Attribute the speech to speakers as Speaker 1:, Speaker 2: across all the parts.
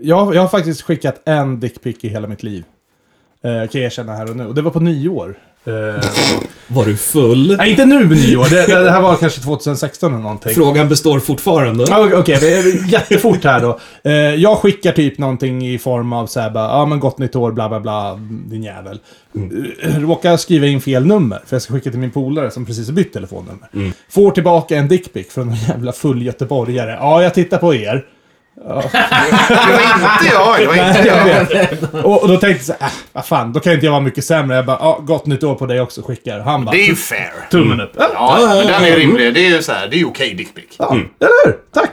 Speaker 1: Jag, jag har faktiskt skickat en dickpic i hela mitt liv. Eh, kan jag erkänna här och nu. Och det var på nyår. Eh,
Speaker 2: Var du full?
Speaker 1: nej, inte nu nyår. Det, det, det här var kanske 2016 eller någonting.
Speaker 2: Frågan består fortfarande.
Speaker 1: Ja, Okej, det är jättefort här då. Eh, jag skickar typ någonting i form av såhär bara, ja men gott nytt år, bla bla bla, din jävel. Mm. Råkar skriva in fel nummer, för jag ska skicka till min polare som precis har bytt telefonnummer. Får tillbaka en dickpic från en jävla full göteborgare. Ja, jag tittar på er.
Speaker 3: Det var inte jag. Det var inte
Speaker 1: Jag vet. Och, och då tänkte jag såhär, äh, vad fan, då kan inte jag vara mycket sämre. Jag bara, ja, gott nytt år på dig också, skickar. Han bara,
Speaker 3: Det är ju fair.
Speaker 1: tummen upp. Ja,
Speaker 3: Ja, men den är rimlig. Det är ju så här, det är ju okej dickpic.
Speaker 1: ja, Mm. eller hur? Tack!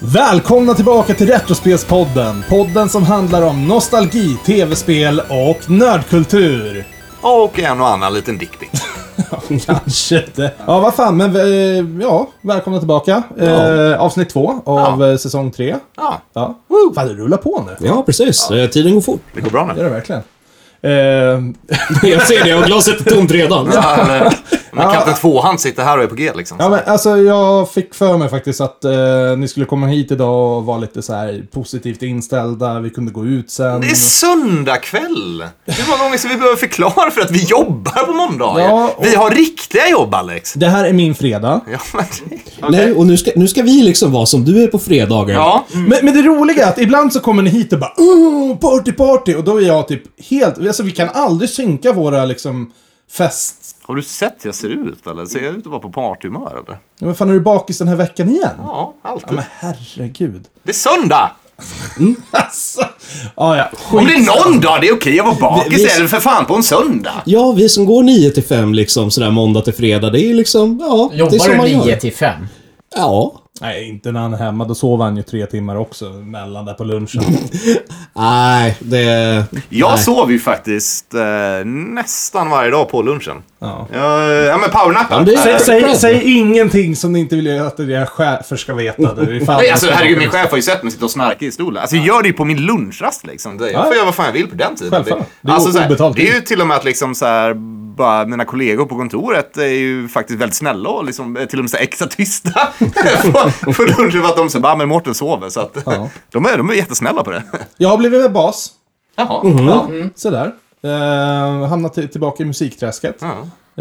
Speaker 1: Välkomna tillbaka till Retrospelspodden. Podden som handlar om nostalgi, tv-spel och nördkultur.
Speaker 3: Och en och annan liten dickpic.
Speaker 1: Kanske inte. Ja, vad fan, men eh, ja, välkomna tillbaka. Eh, avsnitt två av eh, säsong tre.
Speaker 3: Ja,
Speaker 1: Ja. Fan, det rullar på nu.
Speaker 2: Ja, precis. Eh, Tiden går fort.
Speaker 3: det går bra
Speaker 1: Det
Speaker 3: nu.
Speaker 1: gör det verkligen. Eh,
Speaker 2: Jag ser det och glaset är tomt redan.
Speaker 3: Ja, men- Men Kapten eh, Tvåhand sitter här och är på G liksom.
Speaker 1: Ja, men alltså jag fick för mig faktiskt att eh, ni skulle komma hit idag och vara lite så här positivt inställda. Vi kunde gå ut sen.
Speaker 3: Det är söndag kväll. Hur många gånger ska vi behöva förklara för att vi jobbar på måndagar?
Speaker 1: Ja, och-
Speaker 3: Vi har riktiga jobb, Alex.
Speaker 1: Det här är min fredag.
Speaker 3: Ja, men det...
Speaker 2: Nej, och nu ska, nu ska vi liksom vara som du är på fredagar.
Speaker 3: Ja.
Speaker 1: Men, men det roliga är att ibland så kommer ni hit och bara oh, party, party. Och då är jag typ helt... Alltså vi kan aldrig synka våra liksom fest...
Speaker 3: Har du sett hur jag ser ut eller? Ser jag ut att vara på partyhumör eller?
Speaker 1: Ja, Men fan, är du bakis den här veckan igen?
Speaker 3: Ja, alltid.
Speaker 1: Ja, men herregud.
Speaker 3: Det är söndag!
Speaker 1: Alltså. Ja, ja.
Speaker 3: Om det
Speaker 1: skit.
Speaker 3: är någon dag det är okej att vara bakis,
Speaker 2: Vi-
Speaker 3: det är det för fan på en söndag.
Speaker 2: Ja, vi som går 9 till 5 liksom sådär måndag till fredag, det är liksom, ja. det är
Speaker 4: Jobbar
Speaker 2: som man
Speaker 4: du 9
Speaker 2: gör.
Speaker 4: till 5?
Speaker 2: Ja.
Speaker 1: Nej, inte när han är hemma. Då sover han ju tre timmar också. Mellan där på lunchen.
Speaker 2: Nej, det...
Speaker 3: Jag
Speaker 2: Nej.
Speaker 3: sover ju faktiskt eh, nästan varje dag på lunchen.
Speaker 1: Ja.
Speaker 3: Jag, eh, ja men powernappar.
Speaker 2: Ja, det är-
Speaker 1: Säg,
Speaker 2: Säg-
Speaker 1: säg,
Speaker 2: säg-
Speaker 1: säg ingenting som ni inte vill att era chefer ska veta. Du. Ifall-
Speaker 3: Nej, alltså herregud, min chef har ju sett mig sitta och snarka i stolen. Alltså jag gör det ju på min lunchrast liksom. Det- Jag får göra vad fan jag vill på den tiden.
Speaker 1: Självklart. Det är
Speaker 3: alltså, så här,
Speaker 1: obetalt
Speaker 3: det är ju
Speaker 1: tid.
Speaker 3: till och med att liksom så här, bara mina kollegor på kontoret är ju faktiskt väldigt snälla och liksom, eh, till och med så här extra tysta på, på lunchen för att de säger bara, men Mårten sover. Så att
Speaker 1: Ja.
Speaker 3: de, är, de är jättesnälla på det.
Speaker 1: Jag har blivit med bas. Mm.
Speaker 3: Jaha.
Speaker 1: Ja, Sådär. Uh, hamnat till- tillbaka i musikträsket.
Speaker 3: Ja.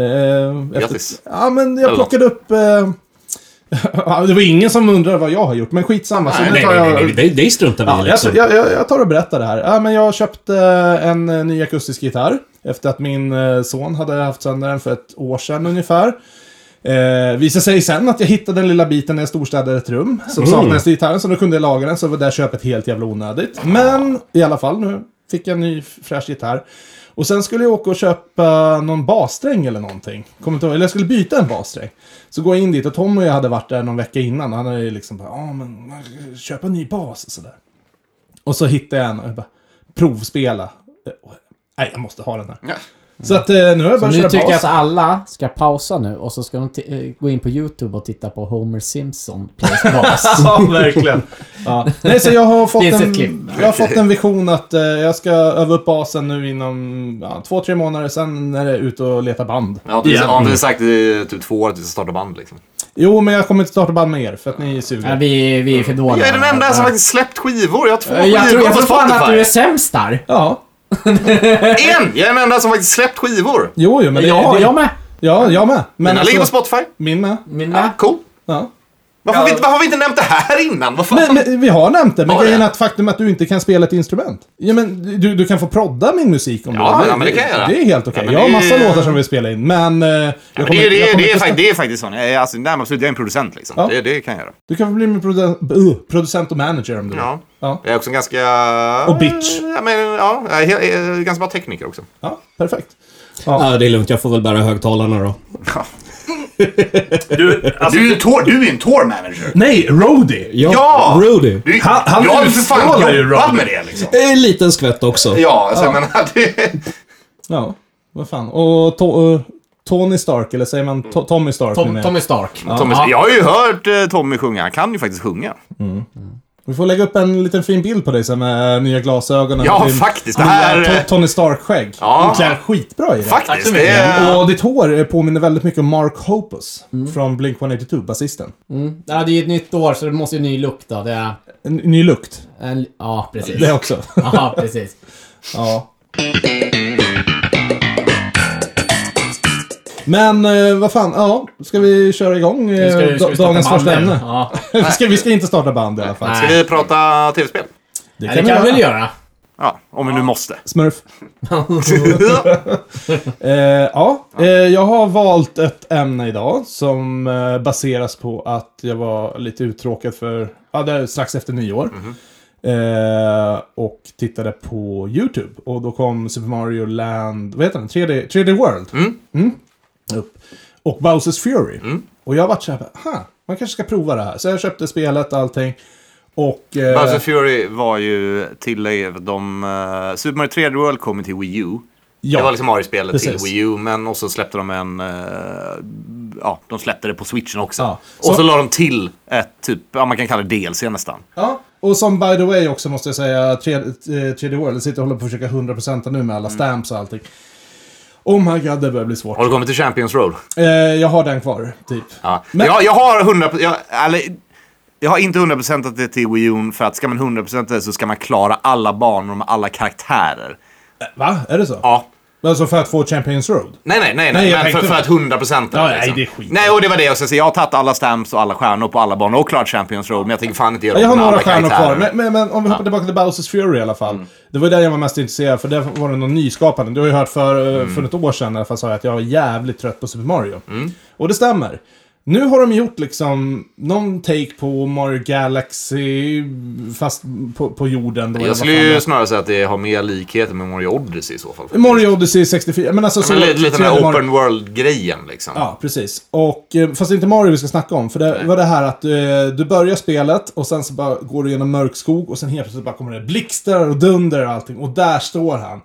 Speaker 1: Eh, efter-
Speaker 3: Ah. Grattis.
Speaker 1: Ja, men jag plockade upp... eh, ja, det var ingen som undrade vad jag har gjort, men skitsamma. så
Speaker 3: Nej,
Speaker 1: nu
Speaker 2: Nej,
Speaker 1: tar
Speaker 2: nej,
Speaker 1: jag-
Speaker 2: nej, nej, det, det struntar vi
Speaker 1: Ja,
Speaker 2: i
Speaker 1: jag,
Speaker 2: liksom.
Speaker 1: jag, jag, jag tar och berättar det här. Ja, men jag köpte eh, en eh, ny akustisk gitarr efter att min eh, son hade haft sönder den för ett år sedan ungefär. Eh, visade sig sen att jag hittade den lilla biten när jag storstädade ett rum som saknades i gitarren, så då kunde jag laga den, så var det där köpet helt jävla onödigt. Men i alla fall, nu fick jag en ny fräsch gitarr. Och sen skulle jag åka och köpa någon bassträng eller någonting. Kommer inte ihåg, eller jag skulle byta en bassträng. Så går jag in dit och Tom och jag hade varit där någon vecka innan. Han hade ju liksom bara, ja men köpa en ny bas och sådär. Och så hittade jag en och jag bara, provspela. Eh, och- Nej, jag måste ha den här.
Speaker 3: Ja.
Speaker 1: Så att eh, nu har jag
Speaker 4: Nu
Speaker 1: börjat
Speaker 4: tycker
Speaker 1: köra
Speaker 4: jag
Speaker 1: bas.
Speaker 4: att alla ska pausa nu och så ska de ti- eh, gå in på YouTube och titta på Homer Simpson plays bass.
Speaker 1: Ja, verkligen. Ja. Nej, så jag har fått,
Speaker 4: Finns ett klipp.
Speaker 1: en, jag har fått en vision att eh, jag ska öva upp basen nu inom ja, två, tre månader. Sen är det ut och leta band.
Speaker 3: Ja, du, ja, du har sagt i typ två år att du ska starta band liksom.
Speaker 1: Jo, men jag kommer inte starta band med er för att ni suger.
Speaker 4: Nej, vi, vi är för dåliga.
Speaker 3: Jag är den enda som faktiskt släppt skivor. Jag har två
Speaker 4: Eh, Jag tror,
Speaker 3: skivor
Speaker 4: jag
Speaker 3: på
Speaker 4: tror fan att du är
Speaker 3: Spotify.
Speaker 4: sämst där.
Speaker 1: Ja,
Speaker 3: En! Jag är den enda som faktiskt släppt skivor.
Speaker 1: jo, jo, men det,
Speaker 4: Ja,
Speaker 1: det,
Speaker 4: jag med.
Speaker 1: Ja, jag med. Men
Speaker 3: Mina ligger på
Speaker 1: alltså,
Speaker 3: Spotify.
Speaker 1: min med.
Speaker 4: Mina.
Speaker 3: Cool.
Speaker 1: Ja.
Speaker 3: Varför, har vi, inte- varför har vi inte nämnt det här innan? Vad fan?
Speaker 1: Men, men, vi har nämnt det, men
Speaker 3: Har
Speaker 1: grejen
Speaker 3: det?
Speaker 1: är att faktum är att du inte kan spela ett instrument. Ja, men du, du kan få prodda min musik om
Speaker 3: Ja,
Speaker 1: du vill.
Speaker 3: ja, men det kan jag göra.
Speaker 1: Det är helt okej.
Speaker 3: Ja, men
Speaker 1: jag har
Speaker 3: det
Speaker 1: massa
Speaker 3: är-
Speaker 1: låtar som vi spelar in, men... eh, jag kommer-
Speaker 3: det, är, det,
Speaker 1: jag
Speaker 3: är,
Speaker 1: kommer
Speaker 3: det, är,
Speaker 1: inte-
Speaker 3: fakt- det är faktiskt så. Nej, Alltså, nej, men absolut, jag är en producent liksom.
Speaker 1: Ja.
Speaker 3: Det, det kan jag göra.
Speaker 1: Du kan väl bli min produ- uh, producent och manager om du vill.
Speaker 3: Ja.
Speaker 1: Ja.
Speaker 3: Jag är också en ganska...
Speaker 1: Och bitch.
Speaker 3: Ja, men, ja, jag är, he- jag är ganska bra tekniker också.
Speaker 1: Ja, perfekt.
Speaker 2: Ja, det är lugnt. Jag får väl bära högtalarna då.
Speaker 3: Du, Alltså, du, är, en tour, du är en tour manager.
Speaker 1: Nej, Rody!
Speaker 2: Ja!
Speaker 3: Ja!
Speaker 2: Rudy.
Speaker 3: Du,
Speaker 1: Han- han
Speaker 3: jag har ju för fan
Speaker 1: utstrålar ju
Speaker 3: jobbat
Speaker 1: roll.
Speaker 3: med det liksom.
Speaker 2: En liten skvätt också.
Speaker 3: Ja, alltså, men det...
Speaker 1: Ja, vad fan. Och to- eh, Tony Stark, eller säger man to- Tommy Stark?
Speaker 4: Tom,
Speaker 1: menar jag.
Speaker 4: Tommy Stark.
Speaker 3: Tommy,
Speaker 4: Ja.
Speaker 3: Jag har ju hört eh, Tommy sjunga. Han kan ju faktiskt sjunga.
Speaker 1: Vi får lägga upp en liten fin bild på dig sen med nya glasögon. och
Speaker 3: Ja,
Speaker 1: din
Speaker 3: faktiskt. Det
Speaker 1: nya
Speaker 3: här-
Speaker 1: To- Tony Stark-skägg.
Speaker 3: Ja.
Speaker 1: Du klär skitbra i det.
Speaker 5: Tack så
Speaker 3: Faktiskt.
Speaker 5: mycket.
Speaker 3: Det är...
Speaker 1: Och ditt hår eh, påminner väldigt mycket om Mark Hoppus från Blink-182, basisten.
Speaker 4: Mm. Ja, det är ju ett nytt år så det måste ju ny look då. Det är
Speaker 1: En ny lukt.
Speaker 4: en... Ja, precis.
Speaker 1: Det också.
Speaker 4: Ja, precis.
Speaker 1: ja. Men eh, vad fan, ja. Ska vi köra igång eh,
Speaker 5: Nu ska vi- ska vi
Speaker 1: da-
Speaker 5: starta
Speaker 1: dagens
Speaker 5: band
Speaker 1: första
Speaker 5: nu?
Speaker 1: ämne?
Speaker 4: Ja.
Speaker 1: vi, ska, vi ska inte starta band i alla fall.
Speaker 4: Nej.
Speaker 3: Ska vi prata tv-spel?
Speaker 4: Det kan vi väl göra?
Speaker 3: Ja, om vi nu måste.
Speaker 1: Smurf. Eh, ja, eh, jag har valt ett ämne idag som eh, baseras på att jag var lite uttråkad för, ja det är strax efter nyår.
Speaker 3: Mhm.
Speaker 1: Eh, och tittade på YouTube och då kom Super Mario Land, vad heter den? 3D, 3D World. Mm. Upp. Och Bowsers Fury.
Speaker 3: Mm.
Speaker 1: Och jag vart såhär, ha, man kanske ska prova det här. Så jag köpte spelet, allting. Och... eh,
Speaker 3: Bowser Fury var ju tillägg de... eh, Super Mario 3D World kom ju till Wii U.
Speaker 1: ja.
Speaker 3: Det var liksom Mario-spelet till
Speaker 1: Precis.
Speaker 3: Wii U, men och så släppte de en... eh, ja, de släppte det på switchen också.
Speaker 1: Ja.
Speaker 3: Och
Speaker 1: Så-
Speaker 3: så la de till ett typ, ja man kan kalla det DLC nästan.
Speaker 1: Ja, och som by the way också måste jag säga, eh, 3D, 3D World sitter och håller på att försöka 100% nu med alla stamps och allting. Oh my god, det börjar bli svårt.
Speaker 3: Mm. Har du kommit till Champions Road?
Speaker 1: Eh, jag har den kvar, typ.
Speaker 3: Ja.
Speaker 1: Men-
Speaker 3: Jag, jag har 100 jag, eller, jag har inte 100 det till Wii U för att ska man 100 det så ska man klara alla banor med alla karaktärer.
Speaker 1: Va? Är det så?
Speaker 3: Ja.
Speaker 1: Alltså för att få Champions Road?
Speaker 3: Nej, nej, nej,
Speaker 1: Nej,
Speaker 3: nej.
Speaker 1: jag
Speaker 3: men
Speaker 1: tänkte
Speaker 3: för, för
Speaker 1: bara-
Speaker 3: att 100 procent liksom-
Speaker 1: Ja, nej, det är skit.
Speaker 3: Nej, och det var det jag skulle säga. Jag har tagit alla stamps och alla stjärnor på alla banor och klart Champions Road, men jag tänker fan inte göra
Speaker 1: Jag har
Speaker 3: om med
Speaker 1: några
Speaker 3: alla
Speaker 1: stjärnor
Speaker 3: karaktärer. Mm.
Speaker 1: kvar, men, men, men om vi hoppar tillbaka till Bowsers Fury i alla fall. Det var ju där jag var mest intresserad, för där var det någon nyskapande. Du har ju hört för,
Speaker 3: Mm.
Speaker 1: eh, för ett år sedan i alla fall sa jag att jag var jävligt trött på Super Mario. Och det stämmer. Nu har de gjort liksom någon take på Mario Galaxy, fast på, på jorden. Då, eller
Speaker 3: Jag
Speaker 1: vad
Speaker 3: skulle
Speaker 1: fan det
Speaker 3: ju
Speaker 1: är.
Speaker 3: snarare säga att det har mer likheter med Mario Odyssey i så fall.
Speaker 1: Mario Odyssey 64, men alltså...
Speaker 3: Ja, men
Speaker 1: så-
Speaker 3: lite, lite den
Speaker 1: tredje
Speaker 3: här
Speaker 1: Mario-
Speaker 3: open world-grejen liksom.
Speaker 1: Ja, precis. Och, eh, fast det är inte Mario vi ska snacka om, för det var det här att eh, du börjar spelet och sen så bara går du genom mörk skog och sen helt plötsligt bara kommer det blixtar och dunder och allting och där står han.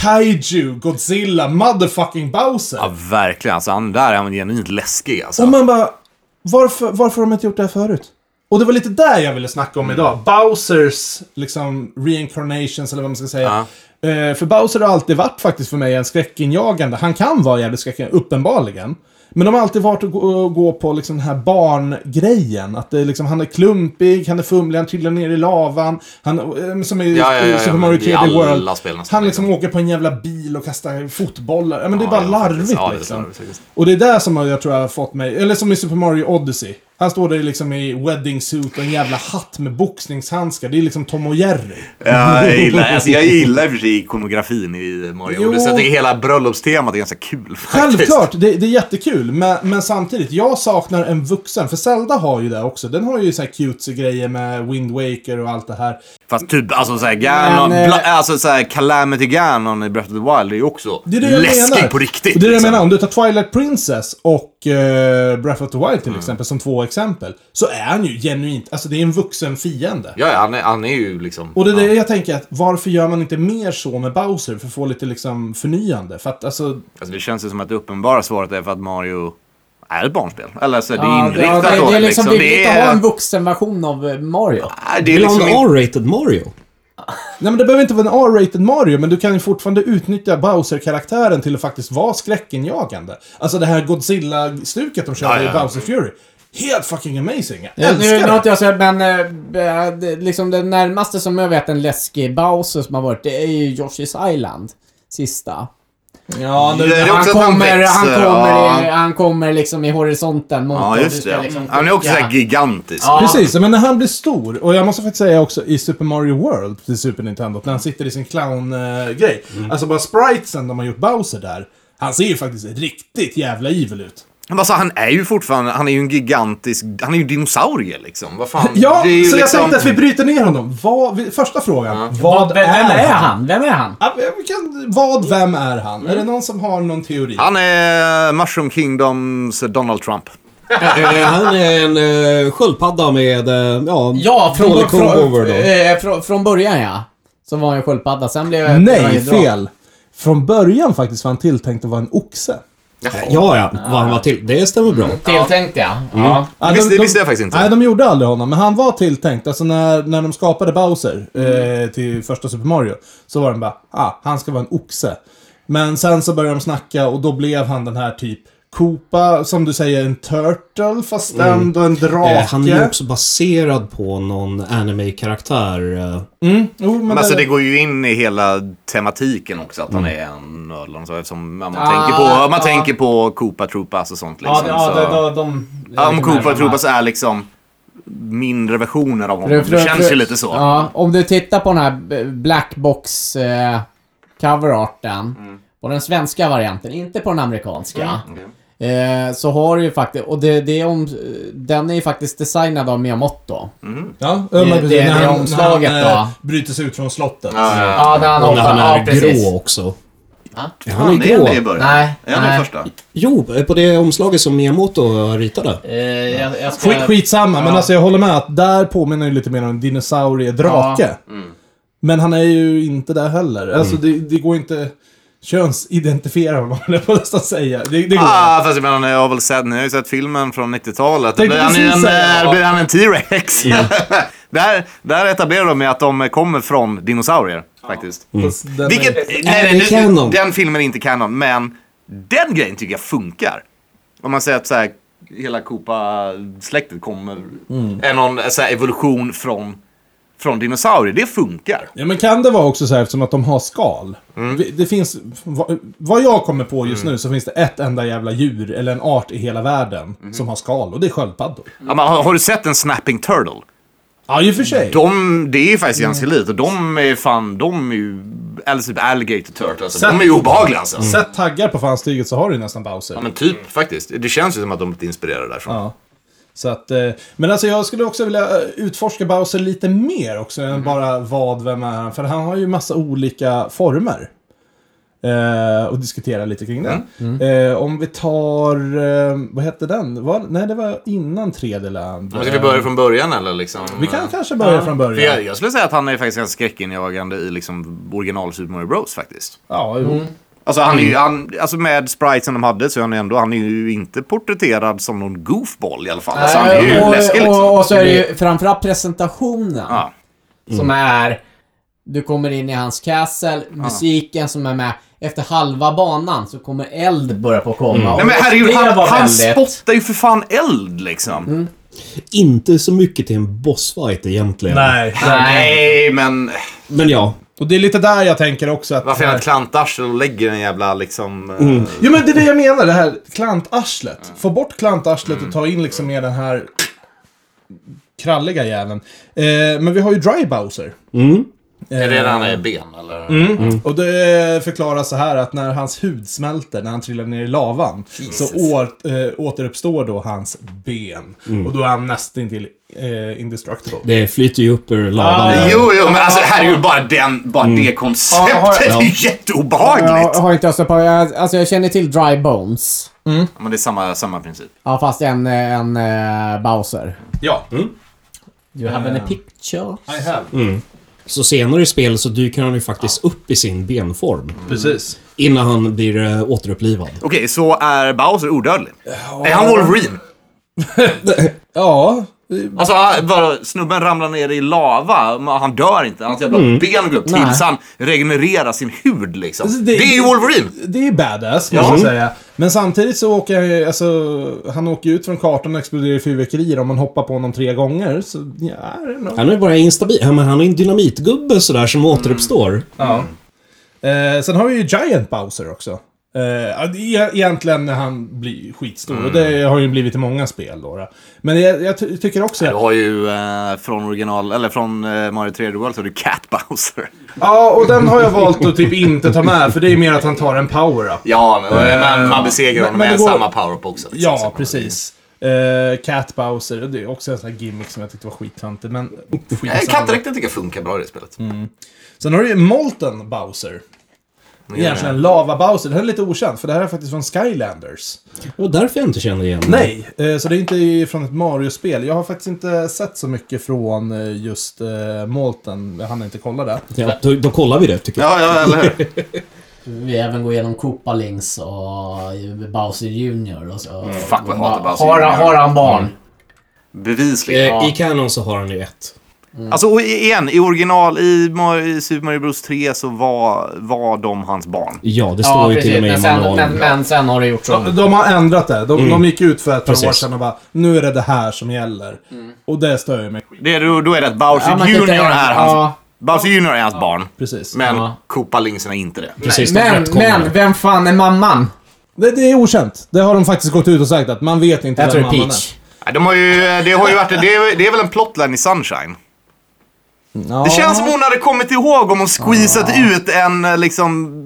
Speaker 1: Kaiju, Godzilla, motherfucking Bowser.
Speaker 3: Ja, verkligen. Alltså, han där är han genuint läskig alltså.
Speaker 1: Och man bara, varför, varför har de inte gjort det här förut? Och det var lite där jag ville snacka
Speaker 3: Mm.
Speaker 1: om idag. Bowsers liksom reincarnations eller vad man ska säga. Eh, för Bowser har alltid varit faktiskt för mig en skräckinjagande. Han kan vara jävligt skräckinjagande, uppenbarligen. Men de har alltid varit att gå, gå på liksom den här barngrejen. Att det är liksom, han är klumpig, han är fumlig, han trillar ner i lavan. Han, eh, som i
Speaker 3: Ja, ja, ja, ja,
Speaker 1: Super
Speaker 3: men
Speaker 1: Mario
Speaker 3: det är
Speaker 1: 3D World.
Speaker 3: alla spel nästan,
Speaker 1: Han liksom åker på en jävla bil och kastar fotbollar. Ja, men det är
Speaker 3: Ja,
Speaker 1: bara
Speaker 3: ja,
Speaker 1: larvigt
Speaker 3: faktiskt. Ja, det är
Speaker 1: liksom.
Speaker 3: larvigt, faktiskt.
Speaker 1: Och det är där som jag tror jag har fått mig, eller som i Super Mario Odyssey. Han står där liksom i wedding suit och en jävla hatt med boxningshandskar. Det är liksom Tom och Jerry.
Speaker 3: Ja, jag gillar, alltså, jag gillar i och för sig ikonografin i Mario
Speaker 1: Jo.
Speaker 3: Odyssey. Jag tycker hela bröllopstemat är ganska kul faktiskt.
Speaker 1: Självklart, det, det är jättekul. Men, men samtidigt, jag saknar en vuxen. För Zelda har ju det också. Den har ju så här cutesy grejer med Wind Waker och allt det här.
Speaker 3: Fast typ, alltså såhär Ganon,
Speaker 4: Men, eh,
Speaker 3: bla, alltså såhär Calamity Ganon i Breath of the Wild är ju också
Speaker 1: Det är det jag
Speaker 3: läskig
Speaker 1: menar.
Speaker 3: på riktigt.
Speaker 1: Och Det är det jag
Speaker 3: liksom.
Speaker 1: menar. Om du tar Twilight Princess och eh, Breath of the Wild till
Speaker 3: Mm.
Speaker 1: exempel, som två exempel. Så är han ju genuint, alltså det är en vuxen fiende.
Speaker 3: Ja, ja, han är, han är ju liksom...
Speaker 1: Och det är det jag tänker att varför gör man inte mer så med Bowser för att få lite liksom förnyande? För att alltså...
Speaker 3: Alltså, det känns ju som att det uppenbara svaret är för att Mario är ett barnspel. Eller så är det
Speaker 4: Ja, det,
Speaker 3: inriktat
Speaker 4: det,
Speaker 3: åt
Speaker 4: det är liksom
Speaker 3: det
Speaker 4: billigt att
Speaker 3: är...
Speaker 4: ha en vuxenversion av eh, Mario.
Speaker 3: Nej, det är
Speaker 2: Vill ha
Speaker 3: liksom...
Speaker 2: en
Speaker 3: inte-
Speaker 2: R-rated Mario?
Speaker 1: Nej men det behöver inte vara en R-rated Mario, men du kan ju fortfarande utnyttja Bowser-karaktären till att faktiskt vara skräckinjagande. Alltså det här Godzilla-stuket de körde
Speaker 3: Ja, ja,
Speaker 1: i
Speaker 3: ja.
Speaker 1: Bowser Fury. Helt fucking amazing! Jag
Speaker 4: Ja, nu,
Speaker 1: älskar
Speaker 4: nu
Speaker 1: det!
Speaker 4: har inte jag sett, men eh, eh, det- liksom det närmaste som jag vet en läskig Bowser som har varit, det är ju Yoshi's Island. Sista.
Speaker 1: Ja,
Speaker 3: Det är
Speaker 4: Han
Speaker 3: också att han
Speaker 4: kommer, han,
Speaker 3: växer,
Speaker 4: kommer i,
Speaker 3: ja.
Speaker 4: han kommer liksom i horisonten mot
Speaker 3: Ja,
Speaker 4: dig.
Speaker 3: just
Speaker 4: Du ska
Speaker 3: det.
Speaker 4: liksom
Speaker 3: han är också
Speaker 4: skicka-
Speaker 3: såhär gigantisk.
Speaker 4: Ja.
Speaker 1: Precis, men när han blir stor, och jag måste faktiskt säga också i Super Mario World till Super Nintendo, när han sitter i sin clown-grej. Alltså bara spritesen de har gjort Bowser där, han ser ju faktiskt riktigt jävla evil ut.
Speaker 3: Men alltså, han är ju fortfarande, han är ju en gigantisk, han är ju en dinosaurie liksom. Vad fan.
Speaker 1: Ja,
Speaker 3: det är ju
Speaker 1: så jag
Speaker 3: liksom-
Speaker 1: tänkte att vi bryter ner honom. Vad, vi- första frågan. Vad
Speaker 4: Vad, vem, vem
Speaker 1: är
Speaker 3: Äh.
Speaker 4: är
Speaker 1: han? Mm.
Speaker 4: han? Vem är han?
Speaker 1: Ja, vi kan, vad, vem är han? Är det någon som har någon teori?
Speaker 3: Han är Mushroom Kingdoms Donald Trump.
Speaker 2: Eh, Han är en uh, sköldpadda med, eh, ja,
Speaker 4: Ja, från,
Speaker 2: dålig
Speaker 4: från,
Speaker 2: combover då.
Speaker 4: eh, från, från början ja. Som var en sköldpadda, sen blev
Speaker 1: Nej,
Speaker 4: jag-
Speaker 1: fel. Från början faktiskt var han tilltänkt att vara en oxe.
Speaker 2: Ja, ja. Vad han var till. Det stämmer bra.
Speaker 4: Tilltänkt ja. ja.
Speaker 1: Ja,
Speaker 3: Det
Speaker 1: de-
Speaker 3: visste- det
Speaker 1: de-
Speaker 3: visste jag faktiskt inte.
Speaker 1: Nej, de gjorde aldrig honom, men han var tilltänkt. Alltså när, när de skapade Bowser eh,
Speaker 3: Mm.
Speaker 1: till första Super Mario, så var den bara, ah, han ska vara en oxe. Men sen så började de snacka och då blev han den här typ Koopa, som du säger, en turtle, fast
Speaker 3: Mm.
Speaker 1: ändå en drake.
Speaker 2: Eh, han är ju också baserad på någon anime-karaktär. eh.
Speaker 1: Mm, jo, men
Speaker 3: Men
Speaker 1: det-
Speaker 3: alltså det går ju in i hela tematiken också att han
Speaker 4: Mm.
Speaker 3: är en ödlan så eftersom man,
Speaker 4: Ah,
Speaker 3: tänker på, man
Speaker 4: ah.
Speaker 3: tänker på Koopa Troopas och sånt
Speaker 4: Ja,
Speaker 3: liksom.
Speaker 4: ja,
Speaker 3: så.
Speaker 4: det, de, de,
Speaker 3: ja, om Koopa
Speaker 4: de-
Speaker 3: Troopas är liksom mindre versioner av honom.
Speaker 4: För-
Speaker 3: Det,
Speaker 4: för-
Speaker 3: känns
Speaker 4: för-
Speaker 3: ju lite så.
Speaker 4: Ja, om du tittar på den här b- Black Box eh, coverarten.
Speaker 3: Mm.
Speaker 4: På den svenska varianten, inte på den amerikanska. Eh, så har du ju faktiskt, och det, det är om, den är ju faktiskt designad av Miyamoto.
Speaker 3: Mm.
Speaker 1: Ja, det,
Speaker 4: det-
Speaker 1: det,
Speaker 4: det
Speaker 1: när han, när
Speaker 4: omslaget
Speaker 1: han,
Speaker 4: då.
Speaker 1: eh, bryter sig ut från slottet.
Speaker 3: Ja, ja.
Speaker 4: Ja, den
Speaker 2: Och när han är
Speaker 4: ja, precis.
Speaker 2: grå också.
Speaker 4: Ja.
Speaker 2: Ja,
Speaker 3: Han är det i början.
Speaker 4: Nej,
Speaker 3: Är han det i
Speaker 4: nej.
Speaker 3: första?
Speaker 2: Jo, eh, på det omslaget som Miyamoto ritade.
Speaker 4: Eh, jag, jag ska...
Speaker 1: Skit,
Speaker 3: Eh,
Speaker 1: skitsamma, men
Speaker 4: Ja.
Speaker 1: alltså jag håller med att där påminner ju lite mer om en dinosaurie-drake.
Speaker 3: Mm.
Speaker 1: Men han är ju inte där heller. Alltså det, det går inte könsidentifiera honom, höll jag på att nästan säga. Det, det går
Speaker 3: Ah, fast jag menar, jag har väl sett, nu har jag ju sett filmen från 90-talet.
Speaker 1: Tänkte
Speaker 3: han, är ju
Speaker 1: precis
Speaker 3: en,
Speaker 1: säga,
Speaker 3: eh,
Speaker 1: ja.
Speaker 3: blir han en T-Rex? där, där etablerar de ju att de kommer från dinosaurier, faktiskt.
Speaker 4: Mm.
Speaker 1: Fast Alltså, den är-
Speaker 3: Vilket, nej,
Speaker 2: det
Speaker 3: nej, nu,
Speaker 2: kanon?
Speaker 3: Den filmen är inte kanon, men den grejen tycker jag funkar. Om man säger att så här, hela Koopa-släktet kommer,
Speaker 1: Mm.
Speaker 3: är någon så här, evolution från, från dinosaurier. Det funkar.
Speaker 1: Ja, men kan det vara också så här eftersom att de har skal?
Speaker 3: Mm.
Speaker 1: Vi- Det finns, vad, vad jag kommer på just nu så finns det ett enda jävla djur eller en art i hela världen
Speaker 3: Mm.
Speaker 1: som har skal och det är sköldpaddor.
Speaker 3: Ja, men, har, har du sett en snapping turtle?
Speaker 1: Ja, i och för sig.
Speaker 3: De, det är ju faktiskt ganska
Speaker 1: Mm.
Speaker 3: likt och de är fan, de är ju, eller typ alligator turtles. Alltså.
Speaker 1: Sätt-
Speaker 3: De är ju obehagliga alltså.
Speaker 1: Sätt taggar på fanstyget så har du ju nästan Bowser.
Speaker 3: Ja men typ faktiskt. Det känns ju som att de är inspirerade därifrån.
Speaker 1: Ja. Så att, eh, men alltså jag skulle också vilja eh, utforska Bowser lite mer också
Speaker 3: Mm.
Speaker 1: än bara vad, vem är han? För han har ju massa olika former. Eh, och diskutera lite kring den.
Speaker 3: Mm.
Speaker 1: Eh, om vi tar, eh, vad hette den? Var, nej, det var innan 3D Land. Eh,
Speaker 3: Men Ska vi börja från början eller liksom?
Speaker 1: Vi kan kanske börja från
Speaker 3: För
Speaker 1: början.
Speaker 3: jag, jag skulle säga att han är faktiskt ganska skräckinjagande i liksom original Super Mario Bros faktiskt.
Speaker 1: Ja, jo.
Speaker 3: Alltså, han är ju, han, alltså med sprite som de hade så är han, ju ändå, han är ju inte porträtterad som någon goofball i alla fall. Alltså, han är ju
Speaker 4: Eh, och,
Speaker 3: läskig liksom.
Speaker 4: och, och så är det ju framförallt presentationen.
Speaker 3: Ja.
Speaker 4: Som är... Du kommer in i hans castle, musiken som är med. Efter halva banan så kommer eld börja på att komma. Och
Speaker 3: Nej men herregud,
Speaker 4: det var
Speaker 3: han, han
Speaker 4: väldigt- Mm.
Speaker 3: spottar ju för fan eld liksom.
Speaker 2: Inte så mycket till en bossfight egentligen.
Speaker 1: Nej.
Speaker 3: Nej, men
Speaker 2: Men ja,
Speaker 1: Och det är lite där jag tänker också att...
Speaker 3: varför är han ett klantarsel och lägger en jävla liksom... eh,
Speaker 4: Mm.
Speaker 1: Jo men det är det jag menar, det här klantarslet. Få bort klantarslet och ta in liksom mer den här kralliga jäveln. Eh, men vi har ju Dry Bowser.
Speaker 3: Är det redan i ben eller?
Speaker 1: Och det förklaras så här att när hans hud smälter, när han trillar ner i lavan, så å, eh, återuppstår då hans ben. Och då är han nästintill eh, indestructible.
Speaker 2: det flyter ju upp ur lavan.
Speaker 4: Ah,
Speaker 2: där.
Speaker 3: Jo, jo, men alltså herregud, bara, den, bara det konceptet
Speaker 4: Mm. Ja, har-
Speaker 3: är ju
Speaker 4: Jag
Speaker 3: jätteobehagligt.
Speaker 4: har inte östat på... Jag, alltså jag känner till Dry Bones.
Speaker 3: Men det är samma, samma princip.
Speaker 4: Ja, fast en, en eh, Bowser.
Speaker 1: Ja.
Speaker 4: You have any picture?
Speaker 1: I have.
Speaker 2: Så senare i spelet så dyker han ju faktiskt upp i sin benform.
Speaker 1: Precis.
Speaker 2: Innan han blir eh, återupplivad.
Speaker 3: Okej, så är Bowser odödlig? Är han Wolverine?
Speaker 1: Ja.
Speaker 3: Alltså, han- bara, snubben ramlar ner i lava, men han dör inte. Hans jävla ben går upp
Speaker 4: Nej.
Speaker 3: tills han regenererar sin hud liksom.
Speaker 1: Alltså,
Speaker 3: det,
Speaker 1: det-
Speaker 3: är ju Wolverine!
Speaker 1: Det är badass, måste jag säga. Men samtidigt så åker han ju, alltså, han åker ju ut från kartan och exploderar i fyrverkerier. Om man hoppar på honom tre gånger så, ja, I don't know.
Speaker 2: Han är bara instabil. Ja, men han är en dynamitgubbe sådär som återuppstår.
Speaker 1: Ja. Eh, sen har vi ju Giant Bowser också. Eh, ja, det är egentligen när han blir skitstor. Och
Speaker 3: Mm.
Speaker 1: det har ju blivit i många spel då. då. Men jag, jag ty- tycker också...
Speaker 3: Du har ju eh, från original, eller från eh, Mario 3D World så har du Cat Bowser.
Speaker 1: Ja, och den har jag valt att typ inte ta med. För det är mer att han tar en power-up.
Speaker 3: Ja, men man, man besegrar honom
Speaker 1: men det
Speaker 3: med
Speaker 1: går-
Speaker 3: samma power-up också. liksom. Så
Speaker 1: Ja,
Speaker 3: man-
Speaker 1: precis. Eh, Cat Bowser, det är också en sån här gimmick som jag tyckte var skittöntig, men
Speaker 3: Nej,
Speaker 1: skitsamma.
Speaker 3: Kattdräkten tycker jag funkar bra i det spelet.
Speaker 1: Mm. Sen har du ju Molten Bowser. Egentligen Lava Bowser. Den här är lite okänd, för det här är faktiskt från Skylanders.
Speaker 2: Det var därför jag inte kände igen honom.
Speaker 1: Nej, eh, så det är inte från ett Mario-spel. Jag har faktiskt inte sett så mycket från eh, just eh, Molten. Jag hann inte kolla det.
Speaker 2: Ja, då, då kollar vi det tycker jag.
Speaker 3: Ja, ja, eller hur?
Speaker 4: vi även går igenom Koopa Links och Bowser Jr. Och så.
Speaker 3: Fuck, vad jag hatar Bowser
Speaker 4: har,
Speaker 3: Jr..
Speaker 4: har han barn?
Speaker 3: Bevisligen.
Speaker 2: Eh, I Canon så har han ju ett.
Speaker 3: Alltså och igen, i original, i, Ma- i Super Mario Bros 3 så var, var de hans barn.
Speaker 2: Ja, det står ju till och med
Speaker 4: men,
Speaker 2: i
Speaker 4: sen, men,
Speaker 2: manualen.
Speaker 4: men sen har det gjort så.
Speaker 1: De, de har ändrat det. De, de gick ut för ett par år
Speaker 2: Precis.
Speaker 1: sedan och bara, nu är det det här som gäller. Och det stör ju mig.
Speaker 3: Det, då, då är det att Bowser
Speaker 4: Ja, man kan
Speaker 3: Jr
Speaker 4: inte-
Speaker 3: är hans,
Speaker 4: ja.
Speaker 3: Bowser Jr är hans barn.
Speaker 1: Precis.
Speaker 3: Men
Speaker 4: Ja.
Speaker 3: Koopa Linsen är inte det.
Speaker 2: Precis, de
Speaker 4: Men,
Speaker 2: rättkommer.
Speaker 4: men, vem fan är mamman?
Speaker 1: Det, det är okänt. Det har de faktiskt gått ut och sagt att man vet inte
Speaker 4: Jag tror det
Speaker 1: vem
Speaker 4: är
Speaker 1: mamman
Speaker 4: Peach.
Speaker 3: Nej, De har ju, det, har ju varit, det, är, det är väl en plotline i Sunshine.
Speaker 1: är. Ja.
Speaker 3: Det känns som hon hade kommit ihåg om hon squeezat ut en eh, liksom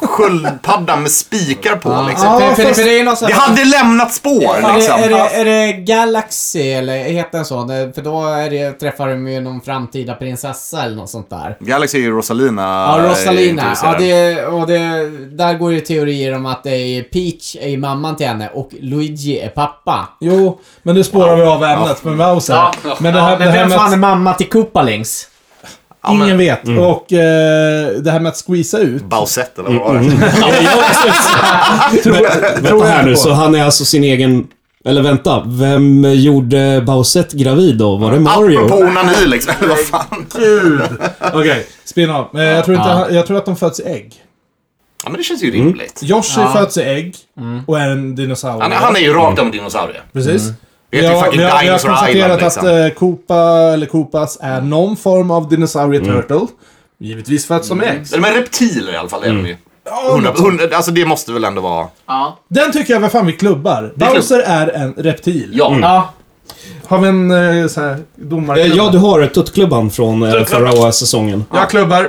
Speaker 3: sköldpadda med spikar på. Liksom.
Speaker 1: Ja,
Speaker 4: för, för,
Speaker 1: fast-
Speaker 4: för det är något sånt-
Speaker 3: Det hade lämnat spår liksom.
Speaker 4: Är, det, är, det, är det Galaxy, eller heter den så? Det- För då är det, träffar de ju någon framtida prinsessa eller något sånt där.
Speaker 3: Galaxy är ju Rosalina.
Speaker 4: Ja,
Speaker 3: eh,
Speaker 4: Rosalina.
Speaker 3: introducerar.
Speaker 4: Ja, det, och det, där går det teorier om att det är Peach är ju mamman till henne och Luigi är pappa.
Speaker 1: Jo, men nu spårar vi av ämnet med Bowser. Men det här,
Speaker 4: men
Speaker 1: det här
Speaker 4: vem
Speaker 1: med
Speaker 4: fan
Speaker 1: att-
Speaker 4: är mamma till Koopalings?
Speaker 3: Ja, men-
Speaker 1: Ingen vet. Och eh, det här med att squeeza ut.
Speaker 3: Bausett eller vad
Speaker 4: Mm,
Speaker 3: var det?
Speaker 1: Tror jag, tror
Speaker 2: Vänta
Speaker 1: jag
Speaker 2: här
Speaker 1: inte
Speaker 2: nu,
Speaker 1: på.
Speaker 2: så han är alltså sin egen... Eller vänta, vem gjorde Bowsett gravid då? Var det
Speaker 4: mm.
Speaker 3: Apropå
Speaker 2: Mario?
Speaker 3: onani liksom. Eller vad fan.
Speaker 1: Okej, spin-off. Eh, jag, tror inte, han- jag tror att de föds i ägg.
Speaker 3: Ja, men det känns ju rimligt.
Speaker 1: Yoshi föds i ägg och är en dinosaurie.
Speaker 3: Han, han är ju rakt av en dinosaurie.
Speaker 1: Precis.
Speaker 3: Det heter ju fucking
Speaker 1: vi, har, vi har
Speaker 3: Dinosaur
Speaker 1: konstaterat
Speaker 3: Island,
Speaker 1: att
Speaker 3: liksom.
Speaker 1: eh, Koopa, eller Koopas, är någon form av dinosaurie turtle. Givetvis föds de i ägg.
Speaker 3: De är reptiler i alla fall, det är de ju. Hundra- hundra- Alltså det måste väl ändå vara...
Speaker 4: Ja.
Speaker 1: Den tycker jag, vad fan vi klubbar.
Speaker 3: är klubb.
Speaker 1: Bowser är en reptil.
Speaker 3: Ja.
Speaker 4: Ja.
Speaker 1: Har vi en eh, så här, domare?
Speaker 2: Eh, Ja, du har Tuttklubban från eh, förra säsongen.
Speaker 1: Jag klubbar.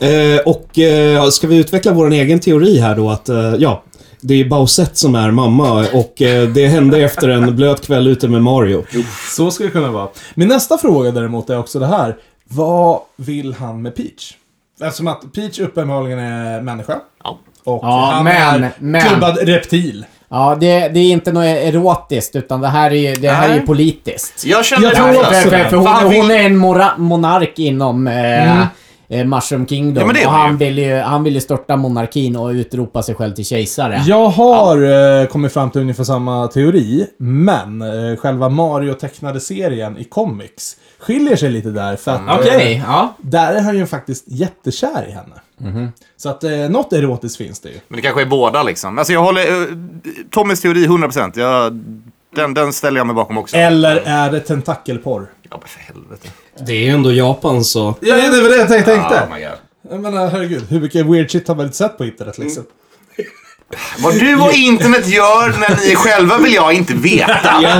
Speaker 2: Eh, och eh, ska vi utveckla vår egen teori här då att, eh, ja, det är Bowsett som är mamma och eh, det hände efter en blöt kväll ute med Mario.
Speaker 1: Så ska det kunna vara. Min nästa fråga däremot är också det här. Vad vill han med Peach? Eftersom att Peach uppenbarligen är människa.
Speaker 3: Ja.
Speaker 1: Och
Speaker 4: Ja,
Speaker 1: han
Speaker 4: men-
Speaker 1: är
Speaker 4: men-
Speaker 1: klubbad reptil.
Speaker 4: Ja, det, det är inte något erotiskt utan det här är ju, det här är ju
Speaker 3: Nej.
Speaker 4: politiskt.
Speaker 3: Jag känner
Speaker 1: Jag
Speaker 3: det
Speaker 1: tror
Speaker 3: här.
Speaker 1: också
Speaker 4: För, för,
Speaker 1: det.
Speaker 4: för hon,
Speaker 3: För han vill-
Speaker 4: hon är en mora, monark inom eh, eh, Mushroom Kingdom.
Speaker 3: Mm. Ja, men det är
Speaker 4: och
Speaker 3: hon
Speaker 4: han
Speaker 3: ju.
Speaker 4: vill, ju, han vill ju störta monarkin och utropa sig själv till kejsare.
Speaker 1: Jag har eh, kommit fram till ungefär samma teori, men eh, själva Mario-tecknade serien i comics skiljer sig lite där. För att,
Speaker 4: Okej,
Speaker 1: eh,
Speaker 4: ja.
Speaker 1: där är han ju faktiskt jättekär i henne. Så att eh, något erotiskt finns det ju.
Speaker 3: Men det kanske är båda liksom. Alltså jag håller... eh, Tommys teori 100%. Jag, den, den ställer jag mig bakom också.
Speaker 1: Eller är det tentakelporr?
Speaker 3: Ja, men för helvete.
Speaker 2: Det är ju ändå Japan så...
Speaker 1: Ja, det var det jag tänkte.
Speaker 3: Oh my God.
Speaker 1: Jag menar, herregud. Hur mycket weird shit har man inte sett på internet liksom?
Speaker 3: Vad du och internet gör när ni själva vill jag inte veta.
Speaker 2: Ja.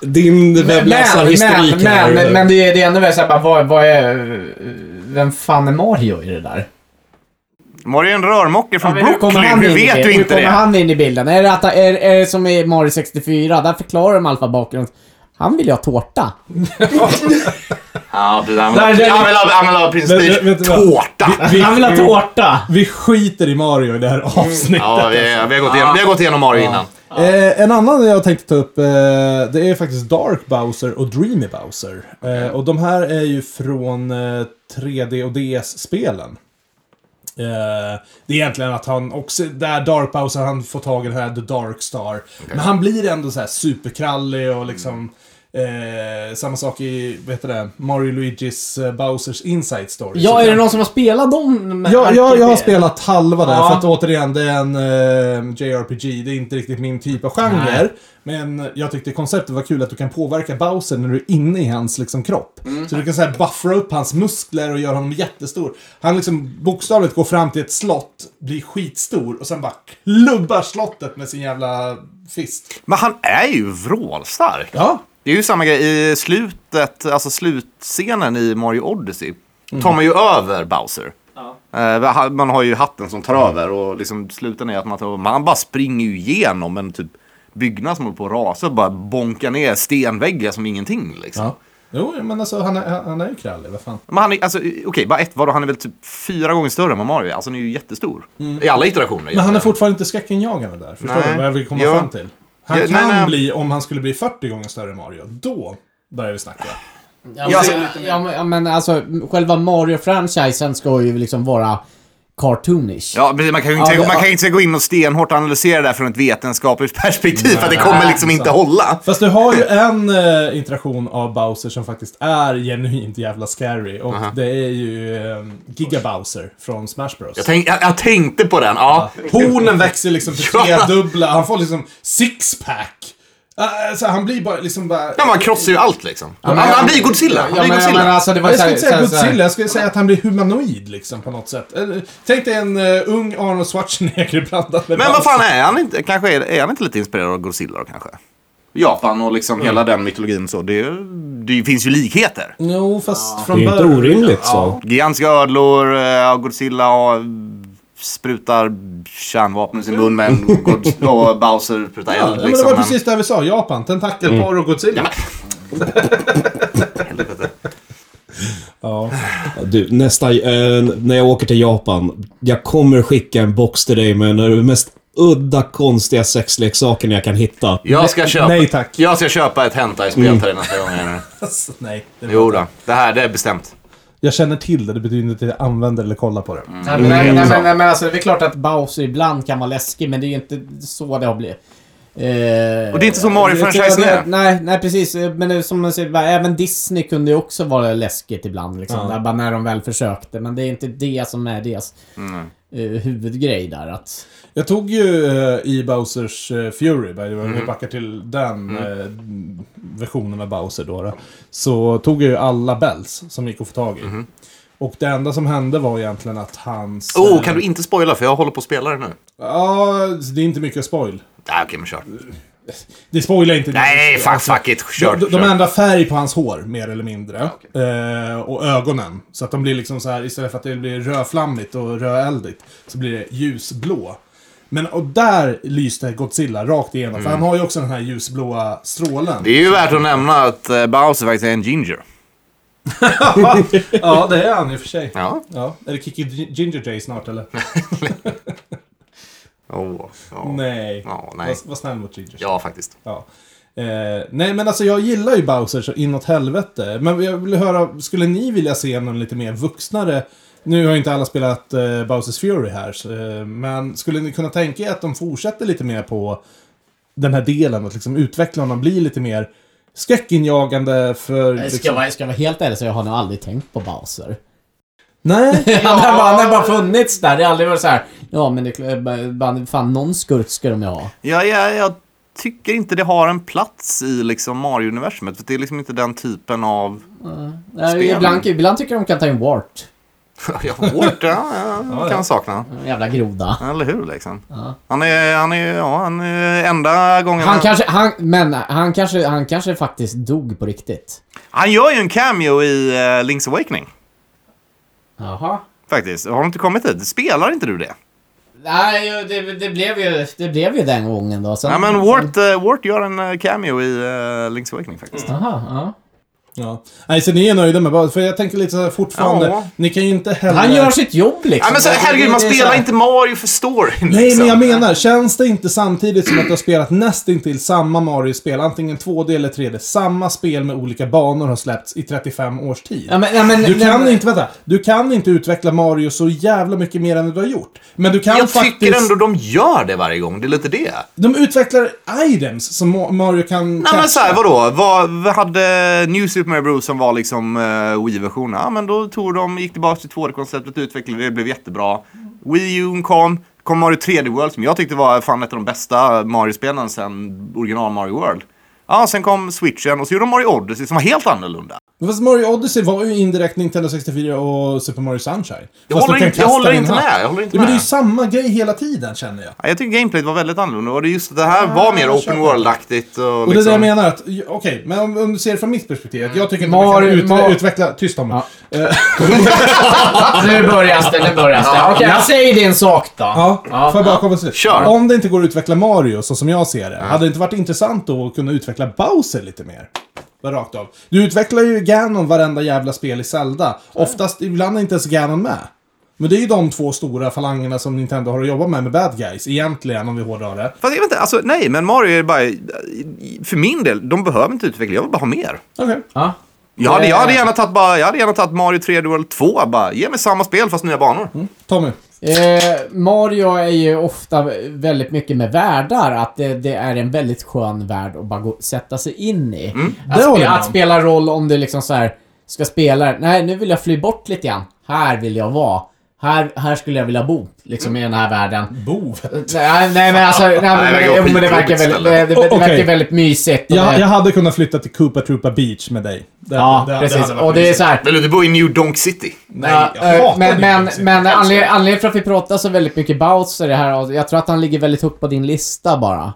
Speaker 2: Din
Speaker 4: Men,
Speaker 2: webbläsarhistorik
Speaker 4: men,
Speaker 2: här.
Speaker 4: men, men det är, det är ändå värre såhär bara, vad, vad är... Vem fan är Mario i det där?
Speaker 3: Mario är en rörmokare från
Speaker 4: hur kommer
Speaker 3: Brooklyn.
Speaker 4: han
Speaker 3: Hur
Speaker 4: in i
Speaker 3: vet
Speaker 4: bilden?
Speaker 3: du inte
Speaker 4: Hur kommer
Speaker 3: det?
Speaker 4: han in i bilden? Är det, att, är, är det som i Mario 64? Där förklarar de i alla fall bakgrund. Han vill ju ha tårta.
Speaker 3: Ja, det där- Han
Speaker 1: Där-
Speaker 3: vill
Speaker 1: där-
Speaker 3: ha- han vill ha
Speaker 1: Vet- vet- vet
Speaker 3: Prince
Speaker 1: du vad?
Speaker 3: Tårta.
Speaker 4: Han vill ha tårta!
Speaker 1: Vi skiter i Mario i det här avsnittet.
Speaker 3: Ja, vi, vi, har gått igenom, vi har gått igenom Mario innan.
Speaker 1: Eh, en annan jag tänkte ta upp, eh, det är faktiskt Dark Bowser och Dreamy Bowser. Eh, och de här är ju från eh, 3D och DS-spelen. Eh, det är egentligen att han också, där Dark Bowser, han får tag i den här The Dark Star. Men han blir ändå så här superkrallig och liksom eh, samma sak i, vad heter det, Mario Luigi's eh, Bowsers Inside Story. Så
Speaker 4: Ja, är
Speaker 1: där-
Speaker 4: det någon som har spelat dem?
Speaker 1: Ja, ja, jag har spelat halva där,
Speaker 4: Ja.
Speaker 1: för att återigen, det är en eh, JRPG. Det är inte riktigt min typ av genre. Men jag tyckte konceptet var kul att du kan påverka Bowser när du är inne i hans liksom, kropp. Så du kan så här, buffra upp hans muskler och göra honom jättestor. Han liksom bokstavligt går fram till ett slott, blir skitstor och sen bara klubbar slottet med sin jävla fist.
Speaker 3: Men han är ju vrålstark.
Speaker 1: Ja.
Speaker 3: Det är ju samma grej i slutet, alltså slutscenen i Mario Odyssey.
Speaker 4: Mm.
Speaker 3: tar man ju över Bowser. Eh, han- Man har ju hatten som
Speaker 4: Mm.
Speaker 3: tar över och liksom sluten är att man tar, man bara springer ju igenom en typ byggnad som håller på att rasa och bara bonkar ner stenväggar som ingenting. Liksom.
Speaker 1: ja. Jo, men alltså han är, han är ju krallig, vad fan.
Speaker 3: Men han är, alltså, okej, bara ett, vadå, han är väl typ fyra gånger större än vad Mario är. Alltså han är ju jättestor.
Speaker 4: Mm.
Speaker 3: I alla iterationer.
Speaker 1: Men han är
Speaker 3: egentligen.
Speaker 1: fortfarande inte skräckinjagande där. Förstår
Speaker 3: Nej.
Speaker 1: du vad jag vill komma
Speaker 3: Ja.
Speaker 1: fram till? Han
Speaker 3: Ja,
Speaker 1: kan
Speaker 3: nej, nej.
Speaker 1: bli, om han skulle bli 40 gånger större än Mario, då börjar vi snacka.
Speaker 4: Ja, men,
Speaker 3: alltså-
Speaker 4: ja, men, ja, men alltså, själva Mario-franchisen ska ju liksom vara cartoonish.
Speaker 3: Ja, precis. Man kan ju inte,
Speaker 4: Ja, det-
Speaker 3: man kan ju inte gå in och stenhårt analysera det här från ett vetenskapligt perspektiv, för att det kommer liksom inte hålla.
Speaker 1: Fast du har ju en eh, interaktion av Bowser som faktiskt är genuint jävla scary. Och det är ju eh, Giga Bowser från Smash Bros.
Speaker 3: Jag, tänk, jag, jag tänkte på den, ja.
Speaker 1: Hornen växer liksom till
Speaker 3: Ja.
Speaker 1: tredubbla. Han får liksom sixpack. Eh, så han blir bara liksom bara...
Speaker 3: ja. Man krossar ju allt liksom. han,
Speaker 4: men-
Speaker 3: han blir Godzilla. Han blir
Speaker 4: Ja, men, men
Speaker 3: Godzilla.
Speaker 4: alltså, det var
Speaker 1: Jag
Speaker 4: så
Speaker 1: skulle
Speaker 4: här-
Speaker 1: inte säga
Speaker 4: så här-
Speaker 1: Godzilla, jag skulle säga att han blir humanoid liksom på något sätt. Eller, Tänk dig en eh, ung Arnold Schwarzenegger blandat med
Speaker 3: Men
Speaker 1: Bowser.
Speaker 3: vad fan är han inte? Kanske är, är han inte lite inspirerad av Godzilla då kanske? Japan och liksom hela den mytologin så. Det, det finns ju likheter.
Speaker 1: Jo, fast
Speaker 2: Det är
Speaker 1: från
Speaker 2: ju inte
Speaker 1: början...
Speaker 2: orimligt så.
Speaker 3: Gigantiska ödlor, eh, Godzilla har, sprutar kärnvapen i sin mun men God- och Bowser sprutar
Speaker 1: Ja,
Speaker 3: eld.
Speaker 1: men det
Speaker 3: Liksom,
Speaker 1: var
Speaker 3: men-
Speaker 1: precis det här vi sa. Japan, tentakelpar och Godzilla. Ja.
Speaker 2: Du, nästa, eh, när jag åker till Japan, jag kommer skicka en box till dig med den mest udda, konstiga sexleksaken jag kan hitta.
Speaker 3: Jag ska köpa,
Speaker 1: nej, tack.
Speaker 3: Jag ska köpa ett hentai-spel till dig nästa gång. Henry.
Speaker 1: Alltså, nej. det-
Speaker 3: Jo då, det här det är bestämt.
Speaker 1: Jag känner till det, det betyder inte att jag använder eller kollar på det.
Speaker 3: Mm.
Speaker 4: Nej, men, nej, nej, men, nej, men alltså, det är klart att Bowser ibland kan vara läskig, men det är ju inte så det har blivit. Eh,
Speaker 3: Och det är inte så Mario-franchisen
Speaker 4: jag- jag-
Speaker 3: är.
Speaker 4: Nej, nej precis. Eh, Men det är som man säger, bara, även Disney kunde ju också vara läskigt ibland. Liksom, där, bara när de väl försökte. Men det är inte det som är deras
Speaker 3: Mm.
Speaker 4: eh, huvudgrej där. Att,
Speaker 1: Jag tog ju eh, i Bowsers eh, Fury, by the way, om
Speaker 3: Mm.
Speaker 1: vi backar till den eh, versionen av Bowser då, då. Så tog jag ju alla bells som gick att få tag i.
Speaker 3: Mm.
Speaker 1: Och det enda som hände var egentligen att hans...
Speaker 3: Oh,
Speaker 1: eh,
Speaker 3: kan du inte spoila för jag håller på att spela det nu.
Speaker 1: Ja, det är inte mycket spoil.
Speaker 3: Nej, okej, men kör.
Speaker 1: Det spoilar inte.
Speaker 3: Nej, fuck, fuck it. Kör.
Speaker 1: Alltså, de, de
Speaker 3: kör.
Speaker 1: ändrar färg på hans hår, mer eller mindre. Eh, och ögonen. Så att de blir liksom så här, istället för att det blir rödflammigt och rödeldigt, så blir det ljusblå. Men och där lyste Godzilla rakt igenom, för han har ju också den här ljusblåa strålen.
Speaker 3: Mm. Det är ju värt att nämna att eh, Bowser faktiskt är en ginger.
Speaker 1: ja, det är han i och för sig.
Speaker 3: Ja.
Speaker 1: Ja. Är det Kiki Ginger J snart eller?
Speaker 3: Oh, ja.
Speaker 1: nej.
Speaker 3: Ja, nej.
Speaker 1: Var, var snäll mot Ginger.
Speaker 3: ja, faktiskt.
Speaker 1: Ja. Eh, nej, men alltså jag gillar ju Bowser så inåt helvete. Men jag vill höra, skulle ni vilja se någon lite mer vuxnare? Nu har ju inte alla spelat eh, Bowsers Fury här, så, eh, men skulle ni kunna tänka er att de fortsätter lite mer på den här delen? Att liksom utveckla honom, bli lite mer skräckinjagande för...
Speaker 4: ska, jag
Speaker 1: Liksom...
Speaker 4: vara, ska jag vara helt ärlig så jag har nog aldrig tänkt på Bowser.
Speaker 1: Nej,
Speaker 4: Han har bara, han har bara funnits där. Det har aldrig varit så här. Ja, men det, är bara- bara- fan, någon skurk ska de ju ha. Eh,
Speaker 3: Ja, ja, jag tycker inte det har en plats i liksom Mario-universumet. För det är liksom inte den typen av...
Speaker 4: Nej,
Speaker 3: Spel.
Speaker 4: ibland, ibland tycker jag de kan ta in Wart.
Speaker 3: ja, Wart, ja, ja, kan jag sakna.
Speaker 4: Jävla groda.
Speaker 3: Eller hur, liksom. Han är, han är, ja, han är enda gången...
Speaker 4: Han kanske, han, men han kanske, han kanske faktiskt dog på riktigt.
Speaker 3: Han gör ju en cameo i eh, Link's Awakening,
Speaker 4: Jaha.
Speaker 3: faktiskt. Har du inte kommit dit? Spelar inte du det?
Speaker 4: Nej, ju, det, det, blev ju, det blev ju den gången då. Sen,
Speaker 3: Nej, men Wart, eh, Wart gör en eh, cameo i eh, Link's Awakening, faktiskt.
Speaker 4: Aha, ja.
Speaker 1: ja. nej, så ni är nöjda med Bowser? För jag tänker lite så här fortfarande,
Speaker 3: Ja.
Speaker 1: ni kan ju inte heller...
Speaker 4: Han gör sitt jobb liksom.
Speaker 3: Ja, men så,
Speaker 4: Det- det-
Speaker 3: herregud, man
Speaker 4: det är så
Speaker 3: spelar
Speaker 4: här-
Speaker 3: inte Mario för storyn.
Speaker 1: Nej,
Speaker 3: liksom.
Speaker 1: men jag menar, känns det inte samtidigt som att du har spelat nästintill samma Mario-spel, antingen 2D eller 3D, samma spel med olika banor har släppts i 35 års tid?
Speaker 4: Ja, men, ja, men,
Speaker 1: Du
Speaker 4: nej,
Speaker 1: kan
Speaker 4: men-
Speaker 1: inte, vänta, du kan inte utveckla Mario så jävla mycket mer än du har gjort. Men du kan
Speaker 3: Jag
Speaker 1: faktiskt...
Speaker 3: tycker ändå de gör det varje gång. Det är lite det.
Speaker 1: De utvecklar items som Ma- Mario kan...
Speaker 3: Nej men
Speaker 1: catcha.
Speaker 3: såhär, vadå? Vad, vad hade New Super Mario Bros som var liksom uh, Wii-versionen? Ja men då tog de, gick tillbaka till 2D-konceptet, utvecklade det, blev jättebra. Wii U kom, kom Mario 3D World som jag tyckte var fan ett av de bästa Mario-spelen sen original Mario World. Ja, sen kom Switchen och så gjorde de Mario Odyssey som var helt annorlunda.
Speaker 1: Fast Mario Odyssey var ju indirekt Nintendo 64 och Super Mario Sunshine.
Speaker 3: Jag
Speaker 1: Fast du
Speaker 3: håller,
Speaker 1: kan
Speaker 3: inte, jag
Speaker 1: kasta
Speaker 3: håller
Speaker 1: din
Speaker 3: inte
Speaker 1: hatt.
Speaker 3: med, jag håller inte
Speaker 1: Ja, men det är
Speaker 3: med.
Speaker 1: ju samma grej hela tiden, känner jag.
Speaker 3: Ja, Jag tycker gameplayet var väldigt annorlunda och det är just att det här var mer
Speaker 1: jag
Speaker 3: open
Speaker 1: köper.
Speaker 3: world-aktigt. Och,
Speaker 1: Och det är det jag
Speaker 3: liksom,
Speaker 1: menar att, okej, men om, om du ser det från mitt perspektiv. att Jag tycker inte
Speaker 4: Mario-
Speaker 1: man kan ut,
Speaker 4: Mar-
Speaker 1: utveckla... Tyst om mig.
Speaker 4: Nu börjar det, nu börjar det. Okej, jag säger din sak då.
Speaker 1: Ja, får jag bara komma till
Speaker 3: Kör.
Speaker 1: Om det inte går att utveckla Mario, så som jag ser det, hade det inte varit intressant då att kunna utveckla Bowser lite mer? Bara Rakt av. Du utvecklar ju Ganon varenda jävla spel i Zelda. Oftast, ibland är inte ens Ganon med. Men det är ju de två stora falangerna som Nintendo har att jobba med, med bad guys, egentligen, om vi hårdrar det.
Speaker 3: Fast jag vet inte, alltså nej, men Mario är bara... För min del, de behöver inte utveckla, jag vill bara ha mer.
Speaker 1: Okej.
Speaker 4: Ja.
Speaker 3: Jag hade, jag hade gärna tagit bara, jag hade gärna tagit Mario 3D World 2. Bara, ge mig samma spel fast nya banor.
Speaker 1: Tommy.
Speaker 4: Eh, Mario är ju ofta väldigt mycket med världar, att det, det är en väldigt skön värld att bara gå, sätta sig in i. Att,
Speaker 1: Det håller jag
Speaker 4: spe,
Speaker 1: med
Speaker 4: att
Speaker 1: om.
Speaker 4: spela roll om du liksom så här ska spela, nej nu vill jag fly bort lite grann. Här vill jag vara. Här, här skulle jag vilja bo, liksom i den här världen.
Speaker 1: Bov.
Speaker 4: Nej, nej men alltså, nej, men,
Speaker 3: det
Speaker 4: nej,
Speaker 3: går
Speaker 4: men, det verkar
Speaker 3: skitjobbigt
Speaker 4: väldigt,
Speaker 3: ställe.
Speaker 4: det, det, det
Speaker 1: O- okej.
Speaker 4: verkar väldigt mysigt. och
Speaker 1: Jag,
Speaker 4: det,
Speaker 1: jag hade kunnat flytta till Koopa Troopa Beach med dig. Det-
Speaker 4: ja,
Speaker 1: det- det
Speaker 4: precis.
Speaker 1: hade varit
Speaker 4: och det är
Speaker 1: mysigt.
Speaker 4: så här,
Speaker 3: Vill du inte bo i New Donk City?
Speaker 1: Nej,
Speaker 4: Ja,
Speaker 1: jag hatar
Speaker 4: eh, men
Speaker 1: New
Speaker 4: men,
Speaker 1: York City.
Speaker 4: men anled- anledningen till att vi pratar så väldigt mycket Bowser i det här, jag tror att han ligger väldigt högt på din lista bara.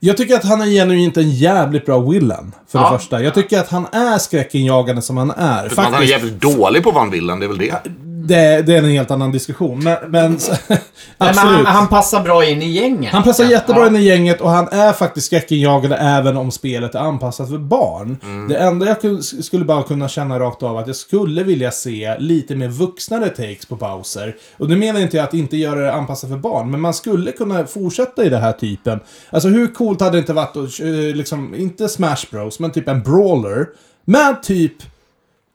Speaker 1: Jag tycker att han är genuint en jävligt bra villain. För det
Speaker 3: Ja.
Speaker 1: första. Jag tycker att han är skräckinjagande som han är.
Speaker 3: För att Typ, han är
Speaker 1: Faktiskt,
Speaker 3: jävligt dålig på vad han vill, det är väl det.
Speaker 1: det, det är en helt annan diskussion. Men, men
Speaker 4: Nej, men
Speaker 1: absolut.
Speaker 4: han, han passar bra in i gänget.
Speaker 1: Han passar jättebra
Speaker 4: Ja.
Speaker 1: in i gänget och han är faktiskt skräckinjagande även om spelet är anpassat för barn.
Speaker 3: Mm.
Speaker 1: Det enda jag kun- skulle bara kunna känna rakt av att jag skulle vilja se lite mer vuxnare takes på Bowser. Och nu menar inte jag att inte göra det anpassat för barn, men man skulle kunna fortsätta i den här typen. Alltså hur coolt hade det inte varit att, eh, liksom, inte Smash Bros, men typ en brawler. Med typ,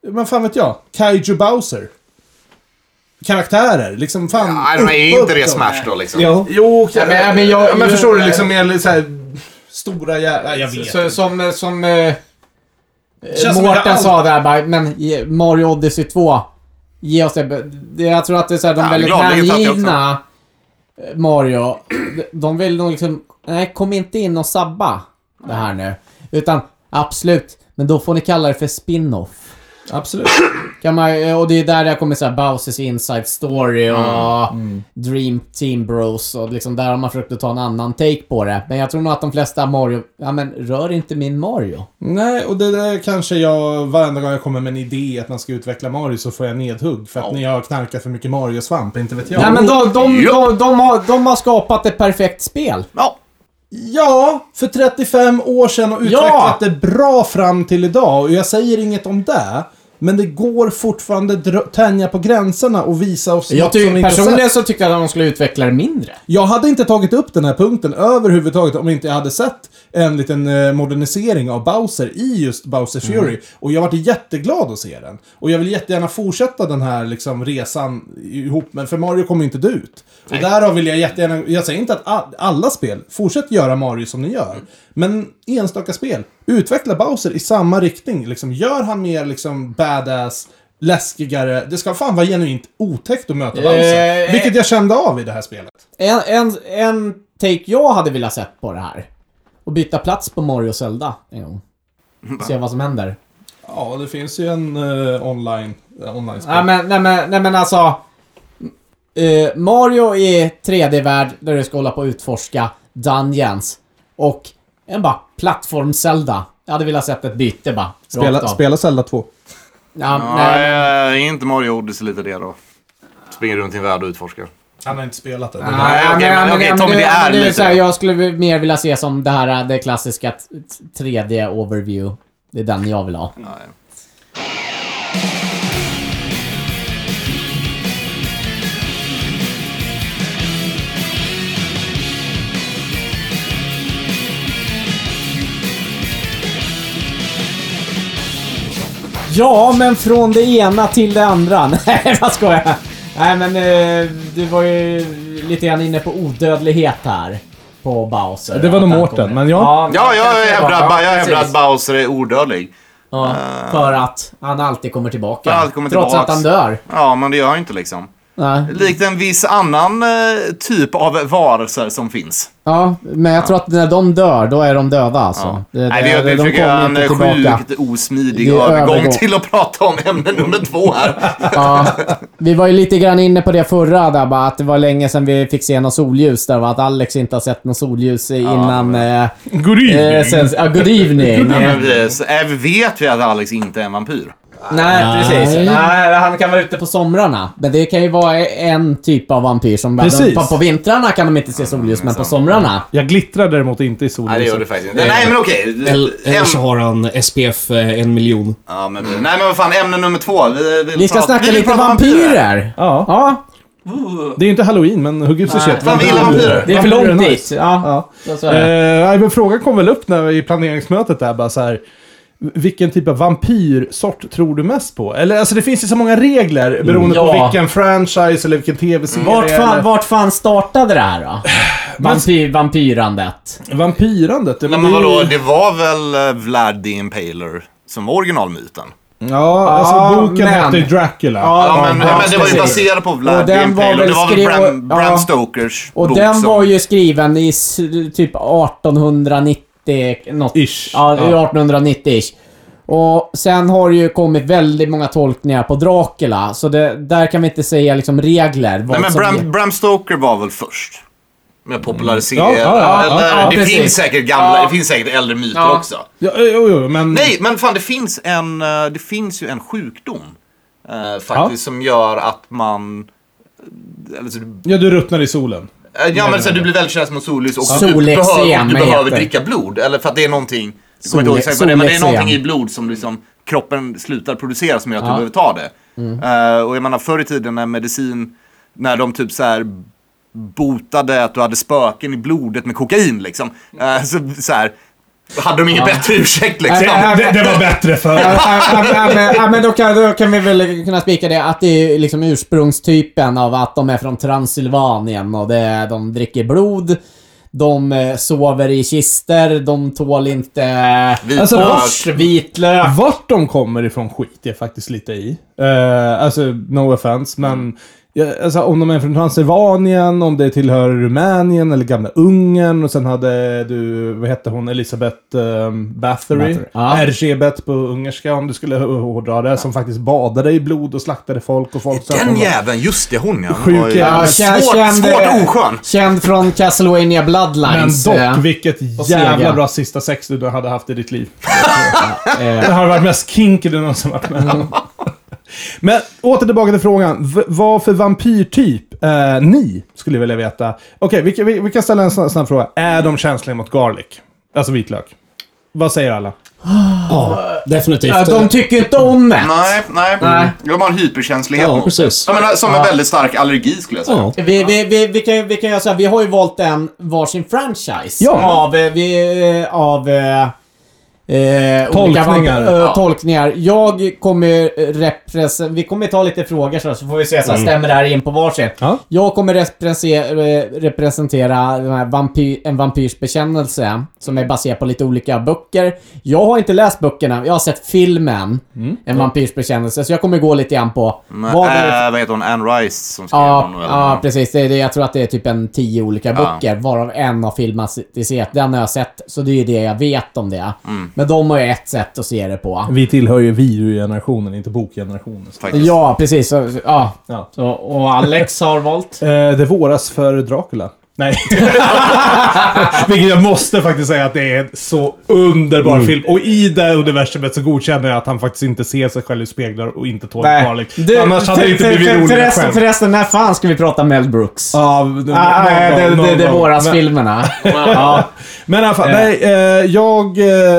Speaker 1: men fan vet jag, Kaiju Bowser. Karaktärer, liksom fan.
Speaker 3: Nej, men är
Speaker 1: upp-
Speaker 3: inte det
Speaker 1: upp dem.
Speaker 3: Smash då liksom?
Speaker 2: Jo.
Speaker 1: Jo,
Speaker 4: Ja, men-
Speaker 1: men,
Speaker 4: ja,
Speaker 1: men,
Speaker 4: men jag-
Speaker 1: men
Speaker 4: jag-
Speaker 1: förstår du? Liksom mer så här, stora jävla... Jag vet
Speaker 4: Så,
Speaker 1: inte.
Speaker 4: som eh, som eh,
Speaker 1: känns som jag
Speaker 4: Mårten
Speaker 1: all-
Speaker 4: sa där bara, men ge- Mario Odyssey 2, ge oss det. Det- Jag tror att det är så här, de
Speaker 3: Ja,
Speaker 4: väldigt
Speaker 3: gladeligen satt jag
Speaker 4: hängivna eh, Mario, de- de vill nog liksom, nej kom inte in och sabba det här nu. Utan absolut, men då får ni kalla det för spin-off.
Speaker 1: Absolut.
Speaker 4: Kan man, eh, och det är där jag kommer så här Bowsers Inside Story och Dream Team Bros och liksom där har man försökt att ta en annan take på det. Men jag tror nog att de flesta Mario, ja men rör inte min Mario.
Speaker 1: Nej, och det där kanske jag... Varenda gång jag kommer med en idé att man ska utveckla Mario så får jag nedhugg. För att ni har knarkat för mycket Mario-svamp, inte vet jag.
Speaker 4: Nej men de, de,
Speaker 3: Jo.
Speaker 4: de, de, har, de har skapat ett perfekt spel.
Speaker 3: Ja.
Speaker 1: Ja, för 35 år sedan och utvecklat
Speaker 4: Ja!
Speaker 1: det bra fram till idag. Och jag säger inget om det. Men det går fortfarande dra- tänja på gränserna och visa oss
Speaker 4: Jag
Speaker 1: något som vi
Speaker 4: tycker,
Speaker 1: inte sett.
Speaker 4: personligen så tyckte jag att de skulle utveckla det mindre.
Speaker 1: Jag hade inte tagit upp den här punkten överhuvudtaget om inte jag hade sett en liten eh, modernisering av Bowser i just Bowser
Speaker 4: Mm.
Speaker 1: Fury. Och jag varit jätteglad att se den. Och jag vill jättegärna fortsätta den här liksom, resan ihop med, för Mario kommer inte dö ut. Och därav vill jag jättegärna, jag säger inte att a- alla spel, fortsätt göra Mario som ni gör.
Speaker 4: Mm.
Speaker 1: Men enstaka spel, utveckla Bowser i samma riktning. Liksom, gör han mer liksom badass, läskigare. Det ska fan vara genuint otäckt att möta Bowser.
Speaker 4: Eh,
Speaker 1: vilket jag kände av i det här spelet.
Speaker 4: En, en, en take jag hade velat sett på det här. Och byta plats på Mario och Zelda en gång. Se vad som händer.
Speaker 1: Ja, det finns ju en eh, online... Eh, online
Speaker 4: Nej men, nej men, nej men alltså. eh, Mario i 3D-värld där du ska hålla på och utforska Dungeons. Och en bara plattform-Zelda. Jag hade velat sett ett byte bara. rakt
Speaker 1: spela,
Speaker 4: av.
Speaker 1: spela Zelda 2.
Speaker 4: Ja,
Speaker 3: Nej,
Speaker 4: nej,
Speaker 3: är inte Mario Odyssey lite det då? Springer runt i en värld och utforskar.
Speaker 1: Han har inte spelat det.
Speaker 4: nej,
Speaker 3: Nej, okej,
Speaker 4: men-
Speaker 3: men-
Speaker 4: men-
Speaker 3: okej,
Speaker 4: men
Speaker 3: Tommy,
Speaker 4: det-
Speaker 3: det är
Speaker 4: men det är
Speaker 3: lite-
Speaker 4: så här, Jag skulle mer vilja se som det här eh, det klassiska t- t- 3D-overview. Det är den jag vill ha.
Speaker 3: Nej.
Speaker 4: Ja, men från det ena till det andra. Nej, vad skojar jag? Nej, men eh, du var ju lite grann inne på odödlighet här. På Bowser.
Speaker 1: Det var nog
Speaker 4: Att han
Speaker 1: Mårten,
Speaker 4: kommer-
Speaker 1: men ja.
Speaker 3: Ja, jag
Speaker 4: kanske det var-
Speaker 3: hävdar jag hävdar att
Speaker 4: precis.
Speaker 3: Bowser är odödlig.
Speaker 4: Ja, för att han alltid kommer tillbaka.
Speaker 3: Han alltid Ah. kommer
Speaker 4: Trots
Speaker 3: tillbaks.
Speaker 4: att han dör.
Speaker 3: Ja, men det gör han inte liksom.
Speaker 4: Nej.
Speaker 3: Likt en viss annan eh, typ av varelser som finns.
Speaker 4: Ja, men jag tror att när de dör, då är de döda alltså.
Speaker 3: Ja.
Speaker 4: Det-
Speaker 3: Nej,
Speaker 4: det-
Speaker 3: vi, vi
Speaker 4: de
Speaker 3: försöker göra
Speaker 4: kommer
Speaker 3: en
Speaker 4: inte
Speaker 3: eh,
Speaker 4: tillbaka.
Speaker 3: sjukt osmidig
Speaker 4: Det är
Speaker 3: övergång
Speaker 4: övergång.
Speaker 3: till att prata om ämne nummer två här.
Speaker 4: Ja, vi var ju lite grann inne på det förra där bara, att det var länge sedan vi fick se något solljus där va? Att Alex inte har sett något solljus eh, innan... Eh,
Speaker 1: Good
Speaker 4: eh, sen, ja, good evening.
Speaker 3: Ja, men precis. Även vet vi att Alex inte är en vampyr.
Speaker 4: Nej, precis.
Speaker 1: Nej.
Speaker 4: Nej, han kan vara ute på somrarna. Men det kan ju vara en typ av vampyr som...
Speaker 1: Precis.
Speaker 4: På, på vintrarna kan de inte se solljus, men på somrarna.
Speaker 1: Jag glittrar däremot inte i solen.
Speaker 3: Nej, det gör du faktiskt inte. Nej, men okej.
Speaker 2: Eller, eller
Speaker 3: Äm-
Speaker 2: så har han SPF eh, en miljon.
Speaker 3: Ja, men, nej, men vad fan. Ämne nummer två. Vi, vill
Speaker 4: Vi ska
Speaker 3: prata-
Speaker 4: snacka
Speaker 3: vill
Speaker 4: lite
Speaker 3: prata
Speaker 4: vampyrer.
Speaker 1: Ja.
Speaker 4: Ja,
Speaker 1: Det är ju inte halloween, men hur gud så shit.
Speaker 3: Fan, vi gillar vampyrer.
Speaker 4: det är för långt
Speaker 1: Vampyrer
Speaker 4: dit. Ja.
Speaker 1: Ja.
Speaker 4: Så, så är det.
Speaker 1: Eh, nej, men frågan kom väl upp när vi i planeringsmötet där bara så här. vilken typ av vampyrsort tror du mest på? Eller alltså det finns ju så många regler beroende
Speaker 4: Ja.
Speaker 1: på vilken franchise eller vilken tv-serie.
Speaker 4: Vart
Speaker 1: eller-
Speaker 4: fan, vart fan startade det här då? Vampyr, vampyrandet.
Speaker 1: Vampyrandet? det-
Speaker 3: Nej,
Speaker 1: det
Speaker 3: men
Speaker 1: är ju-
Speaker 3: vadå,
Speaker 4: Mm.
Speaker 3: det var väl eh, Vlad the Impaler som var originalmyten?
Speaker 1: Ja, alltså
Speaker 4: Ja,
Speaker 1: boken
Speaker 4: men-
Speaker 1: hette ju Dracula.
Speaker 3: Ja, men,
Speaker 4: ja,
Speaker 3: men det var ju
Speaker 4: precis.
Speaker 3: baserat på
Speaker 4: Och
Speaker 3: Vlad the
Speaker 4: den var
Speaker 3: Impaler.
Speaker 4: väl
Speaker 3: Det var väl
Speaker 4: skri-
Speaker 3: Bram,
Speaker 4: och- ja.
Speaker 3: Bram Stokers
Speaker 4: Och
Speaker 3: bok
Speaker 4: den
Speaker 3: som...
Speaker 4: var ju skriven i s- typ 1890 något.
Speaker 1: Ish.
Speaker 4: Ja,
Speaker 1: Ja.
Speaker 4: 1890-ish. Och sen har det ju kommit väldigt många tolkningar på Dracula, så det, där kan vi inte säga liksom regler. vad
Speaker 3: Nej, men
Speaker 4: som är-
Speaker 3: Bram, Bram Stoker var väl först. Med popularisering.
Speaker 1: Ja, ja, ja,
Speaker 3: eller,
Speaker 4: ja, ja,
Speaker 3: det
Speaker 4: precis.
Speaker 3: finns säkert gamla,
Speaker 4: Ja.
Speaker 3: det finns säkert äldre myter
Speaker 4: Ja.
Speaker 3: också.
Speaker 1: Ja, jo, jo, men...
Speaker 3: Nej, men fan det finns en, eh, det finns ju en sjukdom. eh, faktiskt som gör att man... Eller så, du-
Speaker 1: Ja, du ruttnar i solen.
Speaker 3: eh, ja, men så här, du blir väldigt som sollys och du
Speaker 4: Solexem
Speaker 3: behöver, och du
Speaker 4: heter
Speaker 3: behöver
Speaker 4: det.
Speaker 3: dricka blod. Eller för att det är någonting... Jag kommer inte ihåg
Speaker 4: Sole-
Speaker 3: exakt vad det är, men det är
Speaker 4: solexem.
Speaker 3: någonting i blod som liksom, kroppen slutar producera som gör att
Speaker 4: Ja. Mm.
Speaker 3: du behöver ta det. Eh, och jag menar förr i tiden när medicin, när de typ så här botade att du hade spöken i blodet med kokain liksom. Eh, så, så här, hade de ingen bättre ursäkt liksom.
Speaker 1: det, det var bättre
Speaker 4: Ja,
Speaker 1: för
Speaker 4: ja, ja, men- ja, men då kan, då kan vi väl kunna spika det att det är ju liksom ursprungstypen av att de är från Transylvanien och det, de dricker blod, de eh, sover i kister, de tål inte
Speaker 3: Vitlök.
Speaker 1: Alltså,
Speaker 4: bors, vitlök.
Speaker 1: Vart de kommer ifrån skiter jag faktiskt lite i. Eh, alltså, no offense, men... Ja, alltså, om de är från Transylvanien, om det tillhör Rumänien eller gamla Ungern och sen hade du, vad hette hon, Elisabeth eh, Bathory.
Speaker 4: Bathory, ja.
Speaker 1: Erzsébet på ungerska E, om du skulle hårdra det. Som faktiskt badade i blod och slaktade folk och folk söp
Speaker 3: Den
Speaker 1: honom.
Speaker 3: jäveln, just det, hon ja.
Speaker 1: Sjuk jävel.
Speaker 3: Oj.
Speaker 4: Ja,
Speaker 3: Svårt,
Speaker 4: känd, känd,
Speaker 3: svårt oskön.
Speaker 4: känd från Castlevania
Speaker 1: Men
Speaker 4: Bloodlines. eh,
Speaker 1: dock, vilket jävla
Speaker 4: sega.
Speaker 1: bra sista sex du hade haft i ditt liv.
Speaker 4: eh,
Speaker 1: Det har varit mest kinky du någonsin varit med om. Men åter tillbaka till frågan. V- vad för vampyrtyp är ni? Skulle jag vilja veta. Okej, vi, kan- vi, vi kan ställa en snabb, snabb fråga. Är de känsliga mot garlic? Alltså vitlök. Vad säger alla?
Speaker 2: Ja, definitivt.
Speaker 4: ja, de tycker inte om det.
Speaker 3: Nej, nej.
Speaker 4: Nej.
Speaker 3: De har en hyperkänslighet
Speaker 2: Ja,
Speaker 3: mot
Speaker 2: precis.
Speaker 3: det. Jag menar, som en väldigt stark allergi skulle jag säga.
Speaker 2: Ja.
Speaker 4: Vi, vi, vi, vi, kan, vi kan göra så här, vi har ju valt en varsin franchise
Speaker 1: Ja.
Speaker 4: av, eh, vi, eh, av eh, eh, olika
Speaker 1: Tolkningar.
Speaker 4: vamp- eh,
Speaker 3: Ja.
Speaker 4: tolkningar. Jag kommer eh, represen... Vi kommer ta lite frågor så, så får vi se så här, stämmer det här in på varsin.
Speaker 1: Mm. Ja.
Speaker 4: Jag kommer represe- eh, representera den här vampy- en vampyrs bekännelse som är baserad på lite olika böcker. Jag har inte läst böckerna, jag har sett filmen
Speaker 1: Mm.
Speaker 4: En vampyrs bekännelse, så jag kommer gå lite grann på
Speaker 3: Men,
Speaker 4: vad är det
Speaker 3: eh, vad heter hon? Anne Rice som skrev
Speaker 4: Ja,
Speaker 3: honom.
Speaker 4: ja precis. Det är det, jag tror att det är typ en tio olika böcker, varav en har filmatiserat. Den har jag sett, så det är ju det jag vet om det. Men de har ju ett sätt att se det på.
Speaker 1: Vi tillhör ju videogenerationen, inte bokgenerationen.
Speaker 3: Faktiskt.
Speaker 4: Ja, precis. Så, så- ja.
Speaker 1: Ja.
Speaker 4: Så, och Alex har valt?
Speaker 1: Eh, det våras för Dracula. Nej. Vilket jag måste faktiskt säga att det är en så underbar film. Och i det universumet så godkänner jag att han faktiskt inte ser sig själv i speglar och inte tål garlic. Annars hade det inte blivit roligare
Speaker 4: förresten,
Speaker 1: skämt.
Speaker 4: förresten, när fan ska vi prata Mel Brooks? Ja,
Speaker 1: Av
Speaker 4: ah, nej, det, det, det är
Speaker 1: men,
Speaker 4: våras-filmerna. ja.
Speaker 1: Men i alla fall, nej, eh, jag,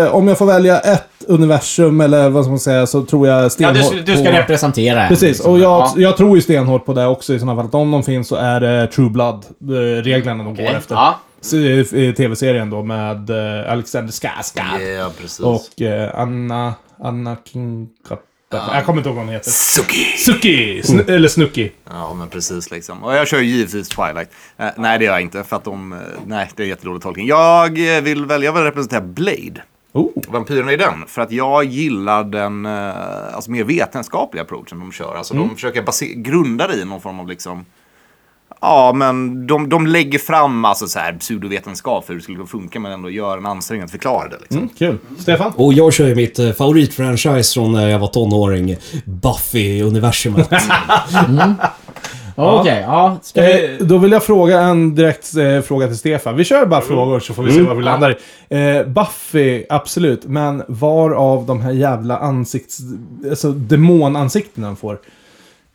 Speaker 1: eh, om jag får välja ett universum eller vad ska man säga så tror jag
Speaker 4: Ja,
Speaker 1: stenhårt
Speaker 4: du, du ska
Speaker 1: på...
Speaker 4: representera en,
Speaker 1: Precis,
Speaker 4: liksom.
Speaker 1: och jag,
Speaker 4: Ja.
Speaker 1: jag tror ju stenhårt på det också i sådana fall. Att om de finns så är det True Blood-reglerna de går efter.
Speaker 4: Ja.
Speaker 1: Så, eh, TV-serien då med eh, Alexander Skarsgård
Speaker 3: Ja, precis.
Speaker 1: och eh, Anna... Anna King... Jag kommer inte ihåg vad hon heter.
Speaker 3: Suki.
Speaker 1: Suki! Sn-
Speaker 4: Mm.
Speaker 1: Eller Snooki.
Speaker 3: Ja, men precis liksom. Och jag kör ju givetvis Twilight. Eh, nej, det gör jag inte. För att de... eh, nej, det är jättedålig tolkning. Jag eh, vill välja, jag vill representera Blade.
Speaker 1: Oh.
Speaker 3: Vampyrerna i den. För att jag gillar den eh, alltså, mer vetenskapliga approachen de kör. Alltså,
Speaker 1: Mm.
Speaker 3: De försöker base- grunda det i någon form av liksom... Ja, men de, de lägger fram alltså, så här, pseudovetenskap för hur det skulle kunna funka men ändå gör en ansträngning att förklara det. Liksom.
Speaker 1: Kul. Stefan?
Speaker 2: Och jag kör ju mitt eh, favoritfranchise från när jag var tonåring. Buffy-universumet.
Speaker 4: Okej, ja. Ska vi...
Speaker 1: Eh, då vill jag fråga en direkt eh, fråga till Stefan. Vi kör
Speaker 4: Mm.
Speaker 1: bara frågor så får vi se var vi landar i. Eh, Buffy, absolut. Men var av de här jävla ansikts... Alltså demonansiktena de får? Eh,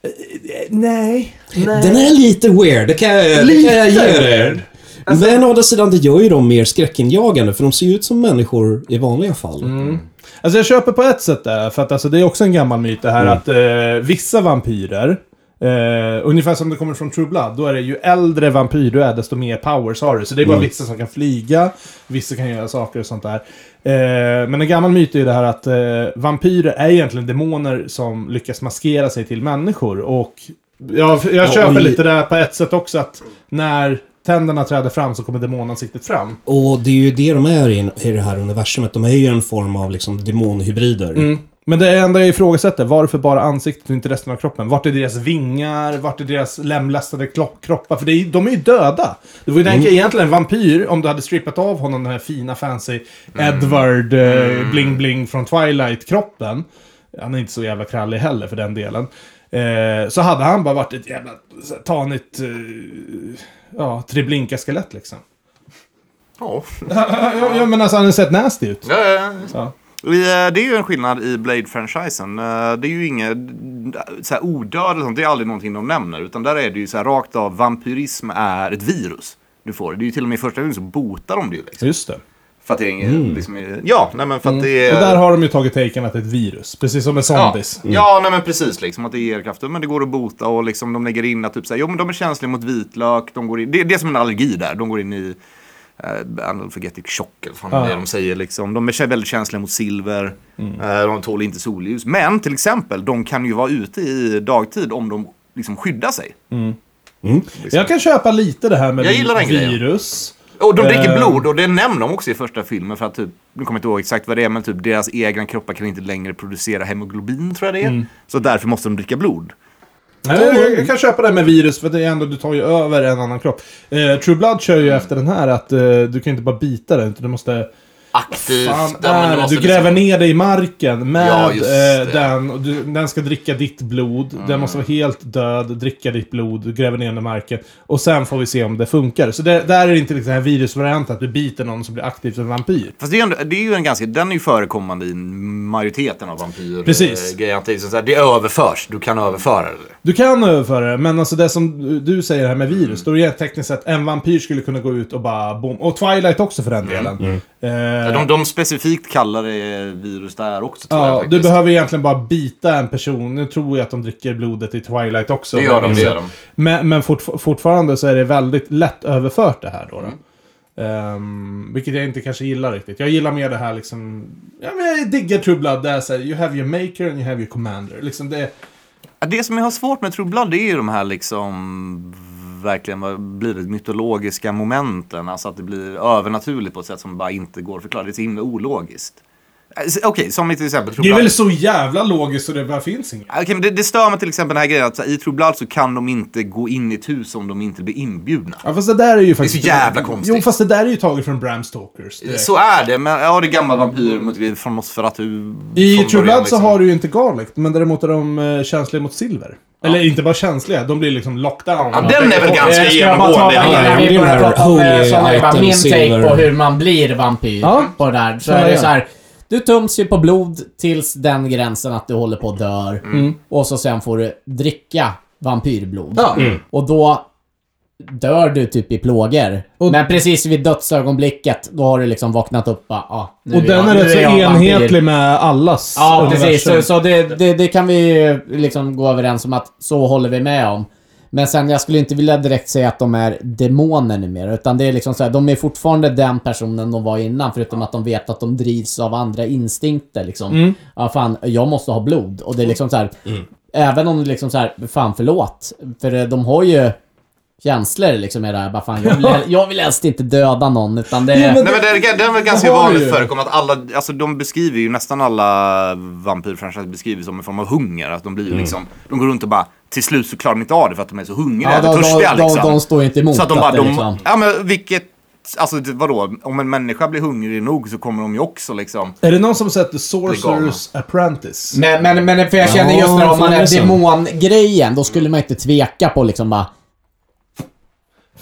Speaker 1: eh, nej.
Speaker 2: Den är lite weird, det kan jag, det kan jag ge dig.
Speaker 1: Alltså-
Speaker 2: Men å andra sidan, det gör ju dem mer skräckinjagande för de ser ju ut som människor i vanliga fall.
Speaker 1: Mm.
Speaker 2: Mm.
Speaker 1: Alltså jag köper på ett sätt det, för att alltså, det är också en gammal myt det här att eh, vissa vampyrer Eh, ungefär som det kommer från True Blood, då är det ju äldre vampyr du är, desto mer powers har du. Så det är
Speaker 2: Mm.
Speaker 1: bara vissa som kan flyga, vissa kan göra saker och sånt där. Eh, men en gammal myt är ju det här att eh, vampyrer är egentligen demoner som lyckas maskera sig till människor. Och jag, jag köper
Speaker 2: och i-
Speaker 1: lite det här på ett sätt också, att när tänderna träder fram så kommer demonansiktet fram.
Speaker 2: Och det är ju det de är i, i det här universumet. De är ju en form av liksom demonhybrider.
Speaker 1: Men Mm. det enda jag ifrågasätter, varför bara ansiktet och inte resten av kroppen? Vart är deras vingar? Vart är deras lemlästade klo- kroppar? För det är, de är ju döda. Du får ju
Speaker 3: Mm.
Speaker 1: tänka egentligen en vampyr, om du hade strippat av honom den här fina fancy
Speaker 3: Mm.
Speaker 1: Edward eh, Bling Bling från Twilight-kroppen. Han är inte så jävla krallig heller för den delen. Eh, så hade han bara varit ett jävla så här tanigt eh, ja, Treblinka-skelett liksom.
Speaker 3: Ja.
Speaker 1: Ja, ja, men alltså han har sett nasty ut.
Speaker 3: Ja, ja, ja.
Speaker 1: Ja.
Speaker 3: I, eh, Det är ju en skillnad i Blade-franchisen. Eh, Det är ju inget så här, odöd eller sånt. Det är aldrig någonting de nämner. Utan där är det ju så här rakt av. Vampyrism är ett virus. Du får. Det är ju till och med i första filmen så botar de det ju. Liksom.
Speaker 1: Just det.
Speaker 3: För att det är inget, liksom, Ja, nej men för att det är...
Speaker 1: Mm. Och där har de ju tagit taken att det är ett virus, precis som med
Speaker 3: Ja,
Speaker 1: zombies.
Speaker 3: ja nej men precis. Liksom, att det ger krafter. Men det går att bota och liksom, de lägger in att typ, så här, jo, men de är känsliga mot vitlök. De går in, det, det är som en allergi där. De går in i eh, analfagetic chock eller vad fan
Speaker 1: Ja.
Speaker 3: det är de säger. Liksom. De är väldigt känsliga mot silver. Eh, de tål inte solljus. Men till exempel, de kan ju vara ute i dagtid om de liksom, skyddar sig. Liksom.
Speaker 1: Jag kan köpa lite det här med
Speaker 3: Jag gillar den grejen.
Speaker 1: virus.
Speaker 3: Och de dricker
Speaker 1: Ehm.
Speaker 3: blod och det nämner de också i första filmen för att typ, nu kommer jag inte ihåg exakt vad det är, men typ deras egna kroppar kan inte längre producera hemoglobin tror jag det är. Så därför måste de dricka blod.
Speaker 1: Nej, jag, jag kan köpa det här med virus, för det är ändå, du tar ju över en annan kropp. Eh, True Blood kör ju efter den här att eh, du kan inte bara bita den, utan du måste...
Speaker 3: Aktivt.
Speaker 1: Fan,
Speaker 3: ja, men
Speaker 1: är,
Speaker 3: måste
Speaker 1: du gräver
Speaker 3: liksom-
Speaker 1: ner dig i marken med
Speaker 3: Ja, just det. Mm.
Speaker 1: eh, den. Och du, den ska dricka ditt blod. Den måste vara helt död, dricka ditt blod, du gräver ner den i marken. Och sen får vi se om det funkar. Så det, där är det inte liksom den här virusvarianten, att du biter någon som blir aktiv som vampyr.
Speaker 3: Fast det är, ändå, det är ju en ganska, den är ju förekommande i majoriteten av vampyr.
Speaker 1: Precis.
Speaker 3: eh, grejer. Att Det, är liksom så här, det överförs, du kan överföra det.
Speaker 1: Du kan överföra det, men alltså det som du säger här med virus, då är det tekniskt sett en vampyr skulle kunna gå ut och bara bom. Och Twilight också för den delen. Eh,
Speaker 3: Mm, De, de specifikt kallar det virus där också tror jag
Speaker 1: ja, du
Speaker 3: faktiskt.
Speaker 1: behöver egentligen bara bita en person. Nu tror jag att de dricker blodet i Twilight också.
Speaker 3: Det gör de,
Speaker 1: Men-
Speaker 3: det gör de.
Speaker 1: Men, men fortf- fortfarande så är det väldigt lätt överfört det här då. då.
Speaker 3: Mm.
Speaker 1: Ehm, vilket jag inte kanske gillar riktigt. Jag gillar mer det här liksom... Ja, men jag diggar True Blood där så här, You have your maker and you have your commander. Liksom det...
Speaker 3: Ja, Det som jag har svårt med True Blood det är ju de här liksom verkligen vad blir det mytologiska momenten. Alltså att det blir övernaturligt på ett sätt som bara inte går att förklara. Det är så himla ologiskt. Eh, s- Okej, som i till exempel True
Speaker 1: Det är
Speaker 3: Blood.
Speaker 1: väl så jävla logiskt så det bara finns inget.
Speaker 3: Okej, men det, det stör mig till exempel den här grejen att så här, i True Blood så kan de inte gå in i ett hus om de inte blir inbjudna.
Speaker 1: Ja, fast det där är ju faktiskt...
Speaker 3: jävla konstigt.
Speaker 1: Jo, fast det där är ju taget från Bram Stokers. direkt.
Speaker 3: Så är det, men ja, det är gamla vampyrer mot från Nosferatu.
Speaker 1: I
Speaker 3: från
Speaker 1: True
Speaker 3: början,
Speaker 1: Blood så
Speaker 3: liksom.
Speaker 1: har du ju inte Garlic, men däremot är de eh, känsliga mot silver. Eller inte bara känsliga, de blir liksom locked down.
Speaker 3: Ja, den är väl
Speaker 1: Eh,
Speaker 3: ganska genomgående.
Speaker 2: Ja, ja,
Speaker 4: Innan
Speaker 2: det
Speaker 4: vi
Speaker 2: är
Speaker 4: börjar
Speaker 2: den här
Speaker 4: prata om
Speaker 2: holy
Speaker 4: eh, sådana här, bara
Speaker 2: item,
Speaker 4: min
Speaker 2: silver.
Speaker 4: take på hur man blir vampyr
Speaker 1: Ja.
Speaker 4: på det där. Så
Speaker 1: Ja,
Speaker 4: är det
Speaker 1: ja.
Speaker 4: så här. Du töms ju på blod tills den gränsen att du håller på att dör. Och så sen får du dricka vampyrblod.
Speaker 1: Mm. Ja.
Speaker 2: Mm.
Speaker 4: Och då dör du typ i plågor.
Speaker 1: Och-
Speaker 4: Men precis vid dödsögonblicket, då har du liksom vaknat upp bara, ah, nu
Speaker 1: Och
Speaker 4: är
Speaker 1: den
Speaker 4: jag-
Speaker 1: är
Speaker 4: nu
Speaker 1: rätt så
Speaker 4: jag vampyr.
Speaker 1: enhetlig med allas
Speaker 4: Ja, precis.
Speaker 1: universum.
Speaker 4: Så, så det, det, det kan vi ju liksom gå överens om att så håller vi med om. Men sen, jag skulle inte vilja direkt säga att de är demoner numera. Utan det är liksom så här, de är fortfarande den personen de var innan. Förutom att de vet att de drivs av andra instinkter liksom.
Speaker 3: Mm.
Speaker 4: Ja, fan, jag måste ha blod. Och det är liksom så här, även om det liksom så här, fan förlåt. För eh, de har ju känslor liksom i det här. Bara, fan, jag, vill, jag vill helst inte döda någon. Utan det
Speaker 1: Jo, men-
Speaker 3: Nej, men det, är- det är väl ganska
Speaker 1: Det har
Speaker 3: vanligt
Speaker 1: ju.
Speaker 3: förekommande att alla, alltså de beskriver ju nästan alla vampyrfranchiser beskrivs som en form av hunger. Att de blir
Speaker 1: Mm.
Speaker 3: ju liksom, de går runt och bara, till slut så klarar de inte av det för att de är så hungriga,
Speaker 4: Ja, de,
Speaker 3: törstiga
Speaker 4: de, de,
Speaker 3: liksom.
Speaker 4: de står ju inte emot
Speaker 3: så att de bara,
Speaker 4: det
Speaker 3: de,
Speaker 4: liksom...
Speaker 3: ja men vilket, alltså det- vadå, om en människa blir hungrig nog så kommer de ju också liksom.
Speaker 1: Är det någon som sett The
Speaker 3: Veganer.
Speaker 1: Sorcerer's Apprentice?
Speaker 4: Men, men, men för jag känner
Speaker 2: Ja,
Speaker 4: just när
Speaker 2: fan,
Speaker 4: om man
Speaker 2: det är
Speaker 4: är
Speaker 2: så.
Speaker 4: demongrejen, då skulle man inte tveka på liksom bara...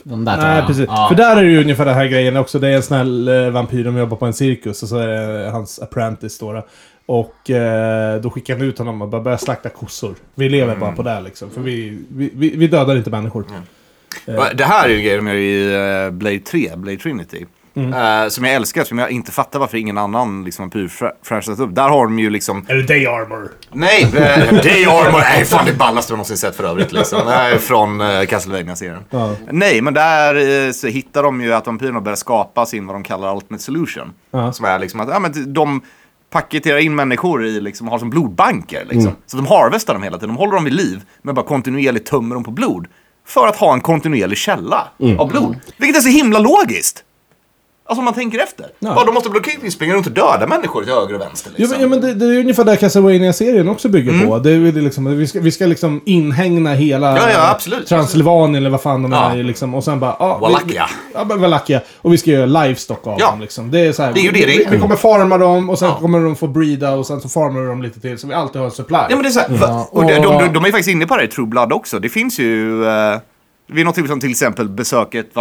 Speaker 4: De där tar
Speaker 1: Nej,
Speaker 4: jag.
Speaker 1: precis.
Speaker 4: Ja.
Speaker 1: För där är det ju ungefär den här grejen också. Det är en snäll eh, vampyr, de jobbar på en cirkus och så är det eh, hans apprentice då. då. Och eh, då skickar han ut honom och bara börjar slakta kossor. Vi lever bara på det här, liksom. För vi, vi, vi,
Speaker 5: Mm.
Speaker 1: vi dödar inte människor.
Speaker 3: Det här är ju grejer de gör i eh, Blade 3, Blade Trinity. eh, som jag älskar, som jag inte fattar varför ingen annan liksom, har pyrfräschat upp. Där har de ju liksom...
Speaker 5: Eller Day Armor.
Speaker 3: Nej, eh, Day Armor är fan det ballaste jag någonsin sett för övrigt. Liksom. Det här är från eh, Castlevania-serien. Nej, men där eh, så hittar de ju att vampyrerna börjar skapa sin vad de kallar Ultimate Solution. Som är liksom att ja, men de paketerar in människor i, liksom, har som blodbanker. Liksom.
Speaker 1: Mm.
Speaker 3: Så de harvestar dem hela tiden, de håller dem vid liv, men bara kontinuerligt tömmer dem på blod. För att ha en kontinuerlig källa
Speaker 1: Mm.
Speaker 3: av blod. Vilket är så himla logiskt. Alltså om man tänker efter. Ja. De måste blocka springa runt och döda människor till höger och vänster.
Speaker 1: Jo,
Speaker 3: Liksom.
Speaker 1: men, ja, men det, det är ju ungefär det Castlevania-serien också bygger
Speaker 3: Mm.
Speaker 1: på. Det är ju det liksom, vi, ska, vi ska liksom inhägna hela
Speaker 3: Ja, ja, absolut.
Speaker 1: Transylvanien eller vad fan de
Speaker 3: Ja.
Speaker 1: är. Liksom, och sen bara... Ah, vi-
Speaker 3: Wallachia.
Speaker 1: vi- Ja, men Wallachia. Och vi ska göra livestock av
Speaker 3: Ja.
Speaker 1: dem. Liksom. Det, är så här,
Speaker 3: Det är ju det det
Speaker 1: vi,
Speaker 3: är.
Speaker 1: vi kommer farma dem och sen
Speaker 3: Ja.
Speaker 1: kommer de få breeda och sen så farmar vi dem lite till. Så vi alltid har en supply.
Speaker 3: Ja, men det är så
Speaker 1: Mm.
Speaker 3: här, va-
Speaker 4: och-
Speaker 3: och de, de, de, de är ju faktiskt inne på det här i True Blood också. Det finns ju... Eh, vid något tillfälle som till exempel besöker ett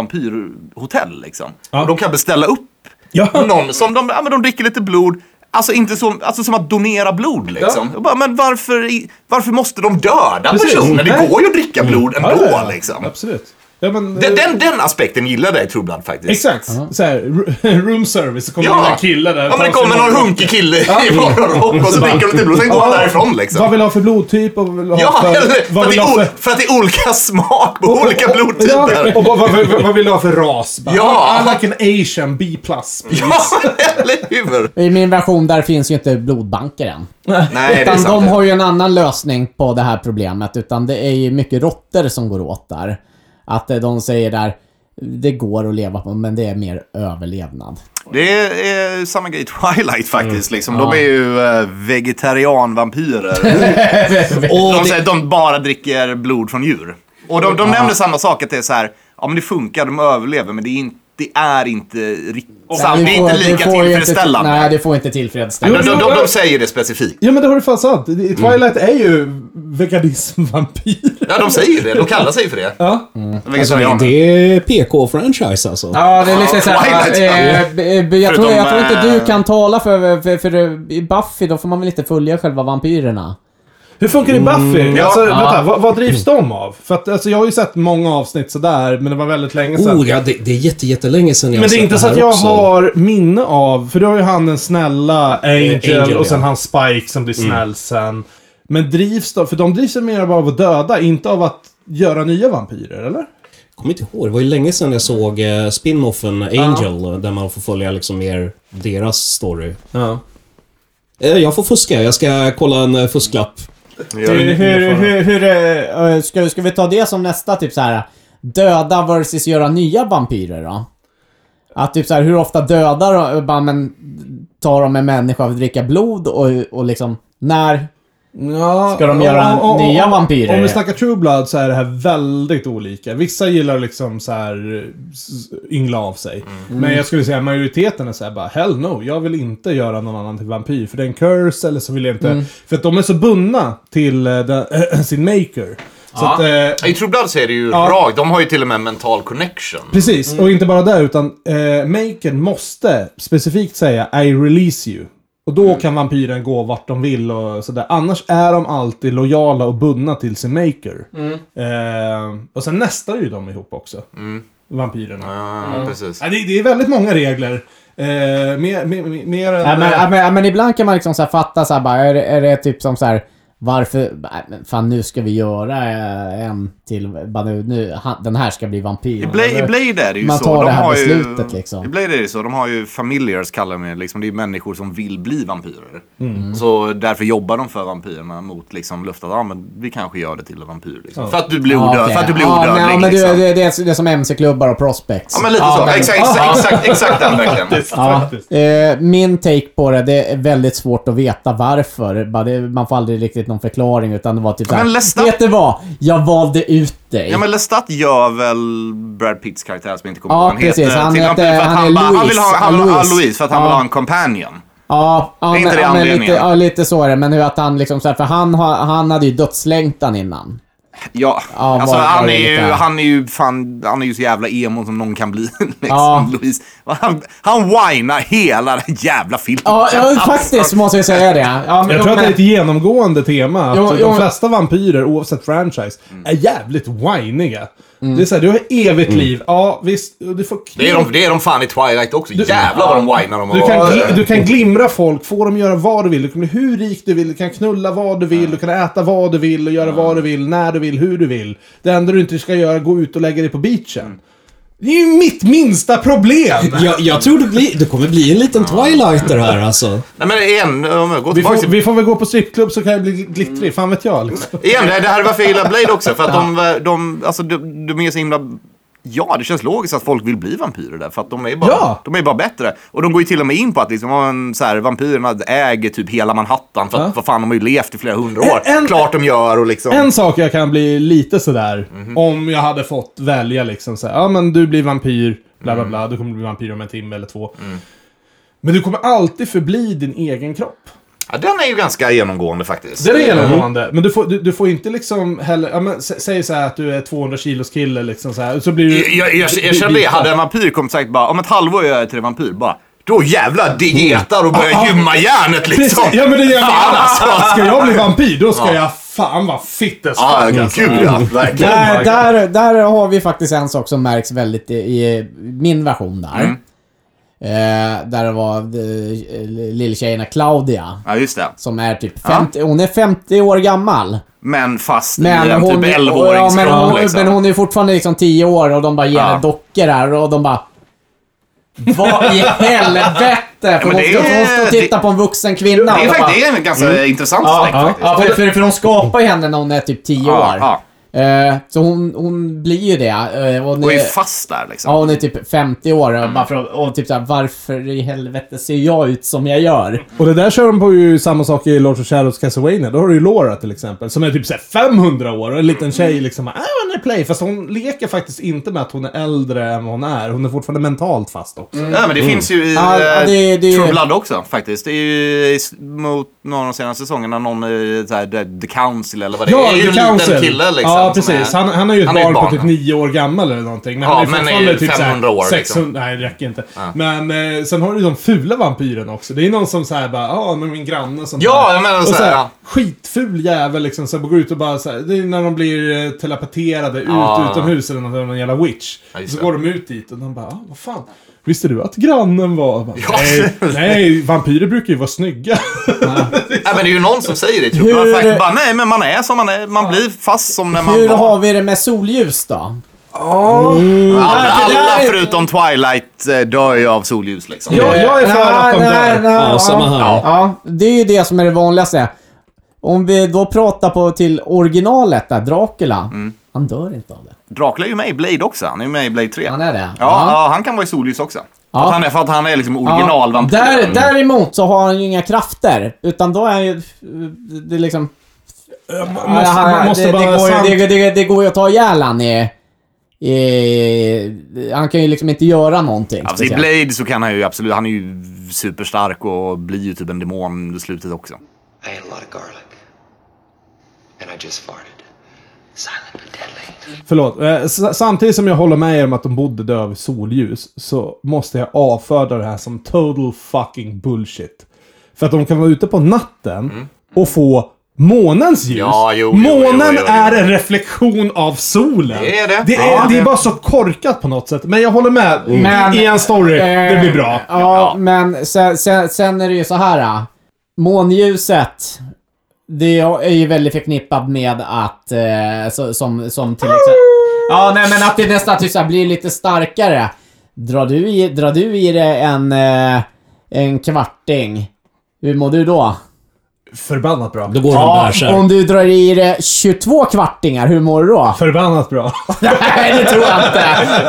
Speaker 3: vampyrhotell. Liksom. Och de kan beställa upp
Speaker 1: Ja.
Speaker 3: någon som de, ja, men de dricker lite blod. Alltså, inte som, alltså som att donera blod liksom. Och Bara, men varför, i- varför måste de döda
Speaker 1: Precis.
Speaker 3: personen? Det
Speaker 1: Nej. Mm.
Speaker 3: går ju att dricka blod ändå
Speaker 1: Ja, ja, ja.
Speaker 3: liksom.
Speaker 1: Absolut. Ja, men, eh,
Speaker 3: Den, den, den aspekten gillade jag i True Blood faktiskt.
Speaker 1: Exakt. Så här, ru- room service. Så kommer
Speaker 3: Ja.
Speaker 1: in en kille där.
Speaker 3: Ja, men det
Speaker 1: tar
Speaker 3: kommer
Speaker 1: sin-
Speaker 3: någon hunkig kille i morgonrock och så dricker de lite blod. Sen går han
Speaker 1: Ja.
Speaker 3: därifrån liksom.
Speaker 1: Vad vill du ha för blodtyp? Och vill ha
Speaker 3: Ja,
Speaker 1: för,
Speaker 3: eller, för,
Speaker 1: vad
Speaker 3: att
Speaker 1: vill
Speaker 3: det
Speaker 1: du
Speaker 3: är
Speaker 1: ha
Speaker 3: ol-
Speaker 1: för,
Speaker 3: för att det är olika smak på olika
Speaker 1: Ja,
Speaker 3: blodtyper.
Speaker 1: och vad, vad, vad, vad vill du ha för ras? Bara, "Ah,
Speaker 3: Ja.
Speaker 1: I like an asian B+. plus.
Speaker 3: Ja, eller hur?
Speaker 4: I min version där finns ju inte blodbanker än.
Speaker 3: Nej, det är
Speaker 4: utan de
Speaker 3: sant.
Speaker 4: har ju en annan lösning på det här problemet. Utan det är ju mycket råttor som går åt där. Att eh, de säger där, det går att leva på, men det är mer överlevnad.
Speaker 3: Det är samma grej i Twilight faktiskt. Liksom. De är ju eh, vegetarianvampyrer.
Speaker 2: Och
Speaker 3: De
Speaker 2: det,
Speaker 3: säger att de bara dricker blod från djur. Och de, de nämner samma sak, att det är så här, ja men det funkar, de överlever, men det är inte, det är inte riktigt sant. Det är inte
Speaker 4: det
Speaker 3: lika
Speaker 4: får ju
Speaker 3: tillfredsställande.
Speaker 4: Inte, nej, det får inte
Speaker 3: De,
Speaker 4: tillfredsställande.
Speaker 3: de, de, de säger det specifikt.
Speaker 1: Ja, men det har du fan sant. I Twilight är ju veganismvampyr.
Speaker 3: Ja, de säger det. De kallar sig för det. Mm.
Speaker 1: Ja.
Speaker 2: alltså,
Speaker 3: Vegetarianer.
Speaker 2: det är PK-franchise alltså.
Speaker 4: Ja, det är lite såhär...
Speaker 3: Twilight,
Speaker 4: eh,
Speaker 3: ja.
Speaker 4: eh, eh, Jag tror, jag tror inte
Speaker 3: Förutom,
Speaker 4: du
Speaker 3: eh,
Speaker 4: kan tala för, för, för eh, i Buffy, då får man väl inte följa själva vampyrerna?
Speaker 1: Hur funkar det i Buffy? alltså,
Speaker 4: Ja.
Speaker 1: vänta, vad, vad drivs de av? För att, alltså, jag har ju sett många avsnitt sådär, men det var väldigt länge sedan.
Speaker 2: Oh, ja, det, det är jätte, jättelänge sedan jag
Speaker 1: men det är
Speaker 2: sett
Speaker 1: inte så
Speaker 2: här
Speaker 1: att jag
Speaker 2: också.
Speaker 1: har minne av, för du har ju han den snälla Angel,
Speaker 2: Angel,
Speaker 1: och sen
Speaker 2: ja.
Speaker 1: han Spike som blir snäll sen. Men drivs de, för de drivs ju mer av att döda, inte av att göra nya vampyrer, eller?
Speaker 2: kommer inte ihåg. Det var ju länge sedan jag såg eh, spin-offen Angel, eh, där man får följa liksom mer deras story.
Speaker 1: Ja.
Speaker 2: Eh, Jag får fuska. Jag ska kolla en eh, fusklapp.
Speaker 3: Gör det.
Speaker 4: Hur, hur, hur, hur eh, eh, ska, ska vi ta det som nästa typ så här Döda versus göra nya vampyrer då? Att typ så här, hur ofta dödar de, bara, men tar de en människa för att dricka blod och, och liksom, när?
Speaker 1: Ja,
Speaker 4: Ska de göra
Speaker 1: om- om-
Speaker 4: nya
Speaker 1: om-
Speaker 4: vampyrer?
Speaker 1: Om vi snackar True Blood så är det här väldigt olika. Vissa gillar liksom så här s- yngla av sig. Men jag skulle säga majoriteten är så här bara hell no, jag vill inte göra någon annan till vampyr. För det är en curse eller så vill jag
Speaker 4: Mm.
Speaker 1: inte. För att de är så bundna till eh, den, sin maker. Så att, eh,
Speaker 3: I True Blood så är det ju rakt. De har ju till och med en mental connection.
Speaker 1: Precis,
Speaker 3: Mm.
Speaker 1: och inte bara det utan eh, makern måste specifikt säga I release you. Och då
Speaker 3: Mm.
Speaker 1: kan vampyren gå vart de vill och sådär. Annars är de alltid lojala och bundna till sin maker.
Speaker 3: Mm.
Speaker 1: Eh, och sen nästar ju de ihop också. Vampyrerna.
Speaker 3: Mm. Ja, precis.
Speaker 1: Ja, det, det är väldigt många regler. Eh, mer, mer, mer, mer än...
Speaker 4: Ja, men, ja, men, ja, men ibland kan man liksom så här fatta så här, bara, är, det- är det typ som så här varför, nej, men fan nu ska vi göra eh, en till, bara nu, nu, han, den här ska bli vampyr.
Speaker 3: I Blade, I Blade är det ju
Speaker 4: Man
Speaker 3: så.
Speaker 4: tar
Speaker 3: de
Speaker 4: det här
Speaker 3: har
Speaker 4: beslutet,
Speaker 3: ju,
Speaker 4: liksom.
Speaker 3: I Blade är det ju så. De har ju familiars kallar de det. Liksom, det är människor som vill bli vampyrer.
Speaker 4: Mm.
Speaker 3: Så därför jobbar de för vampyrerna mot liksom, löftet att ah, men vi kanske gör det till en vampyr. Liksom. För att du blir
Speaker 4: Ja,
Speaker 3: odöd,
Speaker 4: okej.
Speaker 3: för att du blir
Speaker 4: Ja,
Speaker 3: odödlig.
Speaker 4: nej, men du,
Speaker 3: liksom.
Speaker 4: det, det, är, det är som MC-klubbar och prospects.
Speaker 3: Ja, men lite så. Exakt, exakt, exakt, exakt den verkligen.
Speaker 4: Ja, eh, min take på det, det är väldigt svårt att veta varför. Bara det, man får aldrig riktigt någon förklaring utan det var typ
Speaker 3: Ja, men Lestat-
Speaker 4: såhär, Vet du vad? Jag valde ut dig.
Speaker 3: Ja men Lestat gör väl Brad Pitts karaktär som jag inte kommer
Speaker 4: Ja,
Speaker 3: ihåg vad
Speaker 4: precis. Han
Speaker 3: till
Speaker 4: heter-
Speaker 3: vampyr för att han,
Speaker 4: han är
Speaker 3: bara- han
Speaker 4: Louis.
Speaker 3: vill ha, han vill ha
Speaker 4: Louis.
Speaker 3: Louis. för att han
Speaker 4: Ja.
Speaker 3: vill ha en companion.
Speaker 4: Ja, ja,
Speaker 3: Är inte
Speaker 4: men,
Speaker 3: det
Speaker 4: ja, men
Speaker 3: anledningen?
Speaker 4: lite, ja, lite så är det. Men hur att han liksom såhär, för han, har- han hade ju dödslängtan innan.
Speaker 3: Ja,
Speaker 4: Ja,
Speaker 3: alltså
Speaker 4: var- var
Speaker 3: han,
Speaker 4: det
Speaker 3: är ju,
Speaker 4: lite-
Speaker 3: han är ju fan, han är ju så jävla emo som någon kan bli. Liksom,
Speaker 4: Ja.
Speaker 3: Louise. Han, han whinar hela den jävla filmen.
Speaker 4: Ja, ja
Speaker 3: Alltså,
Speaker 4: faktiskt måste jag säga det. Ja, men,
Speaker 1: Jag tror att det är
Speaker 4: men-
Speaker 1: ett genomgående tema. Att
Speaker 4: Jo, jo,
Speaker 1: de
Speaker 4: men-
Speaker 3: Mm.
Speaker 1: flesta vampyrer, oavsett franchise, är jävligt whiniga. Det är såhär, du har evigt liv. Ja, visst. och Du får
Speaker 3: Det är, de, det är de fan i Twilight också. Jävlar vad de whinar om
Speaker 1: Du
Speaker 3: att
Speaker 1: kan,
Speaker 3: vara-
Speaker 1: gl- du kan glimra folk, få dem att göra vad du vill. Du kan bli hur rik du vill, du kan knulla vad du vill, du kan äta vad du vill och göra vad du vill, när du vill, hur du vill. Det enda du inte ska göra är att gå ut och lägga dig på beachen. Det är ju mitt minsta problem!
Speaker 2: Jag, jag tror det, blir, det kommer bli en liten Twilighter här alltså.
Speaker 3: Nej men igen, om jag går
Speaker 1: Vi
Speaker 3: tillbaka
Speaker 1: får,
Speaker 3: till...
Speaker 1: vi får väl gå på strippklubb så kan jag bli glittrig, fan vet jag. Liksom.
Speaker 3: Igen, det det här är varför jag gillar Blade också. För att de, de, alltså, de, de är så himla... Ja, det känns logiskt att folk vill bli vampyrer där. För att de är bara,
Speaker 1: Ja.
Speaker 3: de är bara bättre. Och de går ju till och med in på att liksom, ja, men så här, vampyrerna äger typ hela Manhattan. För att,
Speaker 1: Ja.
Speaker 3: vad fan, de har ju levt i flera hundra år.
Speaker 1: En- en-
Speaker 3: Klart de gör och liksom...
Speaker 1: En sak jag kan bli lite sådär, om jag hade fått välja liksom såhär, ja men du blir vampyr, bla bla bla, du kommer bli vampyr om en timme eller två. Men du kommer alltid förbli din egen kropp.
Speaker 3: Ja, den är ju ganska genomgående faktiskt.
Speaker 1: Det är genomgående. Men du får, du, du får inte liksom heller... Ja, men, sä- säg så här att du är 200 kilos kille liksom så här. Så blir du...
Speaker 3: Jag, jag, jag, jag kände det. Hade en vampyr kommit sagt bara om ett halvår gör jag till en vampyr. Bara, då jävlar dietar och börjar gymma järnet liksom.
Speaker 1: Precis, ja men det är jag
Speaker 3: Fan,
Speaker 1: menar.
Speaker 3: alltså.
Speaker 1: Ska jag bli vampyr, då ska jag fan vara fit as fuck.
Speaker 3: Ja, gud ja. Verkligen.
Speaker 4: Där, där, där har vi faktiskt en sak som märks väldigt i, i min version där.
Speaker 3: Mm.
Speaker 4: Eh, där det var eh, lilltjejerna Claudia.
Speaker 3: Ja, just det.
Speaker 4: Som är typ 50, hon är 50 år gammal.
Speaker 3: Men fast i
Speaker 4: Men
Speaker 3: en
Speaker 4: hon,
Speaker 3: typ
Speaker 4: ja, men, hon,
Speaker 3: 11-åringskropp liksom.
Speaker 4: men hon är fortfarande liksom 10 år och de bara ger
Speaker 3: Ja.
Speaker 4: henne dockor här och de bara... Vad i helvete? För
Speaker 3: men
Speaker 4: hon,
Speaker 3: det
Speaker 4: står,
Speaker 3: är-
Speaker 4: hon står och tittar
Speaker 3: det-
Speaker 4: på en vuxen kvinna.
Speaker 3: Det
Speaker 4: och
Speaker 3: är,
Speaker 4: bara,
Speaker 3: faktiskt, det är en ganska intressant aspekt
Speaker 4: Mm. Ja,
Speaker 3: faktiskt.
Speaker 4: ja för, för, för de skapar ju henne när hon är typ 10
Speaker 3: Ja,
Speaker 4: år.
Speaker 3: ja.
Speaker 4: Eh, så hon, hon blir ju det. Eh, och
Speaker 3: Hon är
Speaker 4: nu-
Speaker 3: ju fast där liksom.
Speaker 4: Ja, hon är typ 50 år och, bara för, att- och typ såhär, varför i helvete ser jag ut som jag gör?
Speaker 1: Och det där kör de på ju samma sak i Lords of Shadows Castlevania. Då har du ju Laura till exempel. Som är typ så här 500 år och en liten
Speaker 3: Mm.
Speaker 1: tjej liksom. Ah, hon är play. Fast hon leker faktiskt inte med att hon är äldre än vad hon är. Hon är fortfarande mentalt fast också.
Speaker 3: Ja, men det finns ju i
Speaker 4: Mm. Ja, ja, det- det-
Speaker 3: eh, True Blood också faktiskt. Det är ju i s- mot någon av de senaste säsongerna, någon i så här, the, the Council eller vad det är.
Speaker 1: Ja,
Speaker 3: det är ju
Speaker 1: The
Speaker 3: en
Speaker 1: Council.
Speaker 3: liten kille liksom.
Speaker 1: Ja,
Speaker 3: som
Speaker 1: precis.
Speaker 3: är-
Speaker 1: Han, han är ju ett
Speaker 3: han är
Speaker 1: barn,
Speaker 3: ett
Speaker 1: på
Speaker 3: barn,
Speaker 1: typ
Speaker 3: ja.
Speaker 1: nio år gammal eller någonting. Men
Speaker 3: Ja,
Speaker 1: han är
Speaker 3: men är
Speaker 1: fortfarande
Speaker 3: ju
Speaker 1: typ
Speaker 3: 500 år, liksom.
Speaker 1: 600, Nej, det räcker inte. Men eh, sen har du ju de fula vampyrerna också. Det är någon som säger bara, ja, men min granne som...
Speaker 3: Ja,
Speaker 1: bara-
Speaker 3: jag menar
Speaker 1: och
Speaker 3: så här,
Speaker 1: här,
Speaker 3: ja.
Speaker 1: Skitful jävel liksom. Så här, går ut och bara så här, Det är när de blir eh, telepaterade ut
Speaker 3: Ja.
Speaker 1: utomhus eller något, någon jävla witch.
Speaker 3: Ja, just
Speaker 1: så
Speaker 3: det.
Speaker 1: går de ut dit och de bara, ah, vad fan. Visste du att grannen var... Jag Bara,
Speaker 3: Ja.
Speaker 1: nej, nej, vampyrer brukar ju vara snygga.
Speaker 3: Ja, men det är ju någon som säger det i True
Speaker 4: Hur-
Speaker 3: Blood faktiskt. Bara, nej, men man är som man är. Man blir fast som när man
Speaker 4: Hur
Speaker 3: var.
Speaker 4: har vi det med solljus då?
Speaker 3: alla,
Speaker 4: det där
Speaker 3: alla
Speaker 4: är-
Speaker 3: förutom Twilight eh, dör ju av solljus liksom.
Speaker 1: jag, jag är för att de dör.
Speaker 4: nej, nej,
Speaker 2: Ja, samma här.
Speaker 4: ja, ja, det är ju det som är det vanligaste. Om vi då pratar på till originalet där, Dracula. Han dör inte av det.
Speaker 3: Dracula är ju med i Blade också. Han är ju med i Blade 3.
Speaker 4: Han är det?
Speaker 3: Ja, ja, han kan vara i solljus också.
Speaker 4: Ja.
Speaker 3: Att han är, för att han är liksom
Speaker 4: Ja,
Speaker 3: originalvampyren.
Speaker 4: Där, däremot så har han ju inga krafter. Utan då är han ju... Det är liksom...
Speaker 1: Måste,
Speaker 4: Ja,
Speaker 1: man måste
Speaker 4: det,
Speaker 1: bara...
Speaker 4: det, går,
Speaker 1: sant-
Speaker 4: ju- det, det, det går ju att ta ihjäl han i, i... Han kan ju liksom inte göra någonting
Speaker 3: Alltså, I
Speaker 4: speciellt.
Speaker 3: Blade så kan han ju absolut, han är ju superstark och blir ju typ en demon i slutet också.
Speaker 5: I ate a lot of garlic. And I just farted. Silent but deadly.
Speaker 1: Förlåt. Eh, s- Samtidigt som jag håller med er om att de bodde där av solljus så måste jag avfärda det här som total fucking bullshit. För att de kan vara ute på natten och få månens ljus.
Speaker 3: Mm. Ja, jo, jo,
Speaker 1: Månen
Speaker 3: jo, jo, jo.
Speaker 1: är en reflektion av solen.
Speaker 3: Det är det.
Speaker 1: Det är,
Speaker 3: Ja,
Speaker 1: det är
Speaker 3: det-
Speaker 1: bara så korkat på något sätt. Men jag håller med.
Speaker 4: Men- eh,
Speaker 1: I en story. det blir bra.
Speaker 4: Ja, men sen, sen, sen är det ju så här. ah. Månljuset. Det är ju väldigt förknippat med att... Eh, så, som, som till exempel... Ja, nej men att det nästan typ så här blir lite starkare. Drar du i, drar du i det en, eh, en kvarting, hur mår du då?
Speaker 1: Förbannat bra.
Speaker 2: Då går de
Speaker 4: Ja,
Speaker 2: där så här.
Speaker 4: om du drar i det 22 kvartingar, hur mår du då?
Speaker 1: Förbannat bra.
Speaker 4: Nej, det tror jag inte.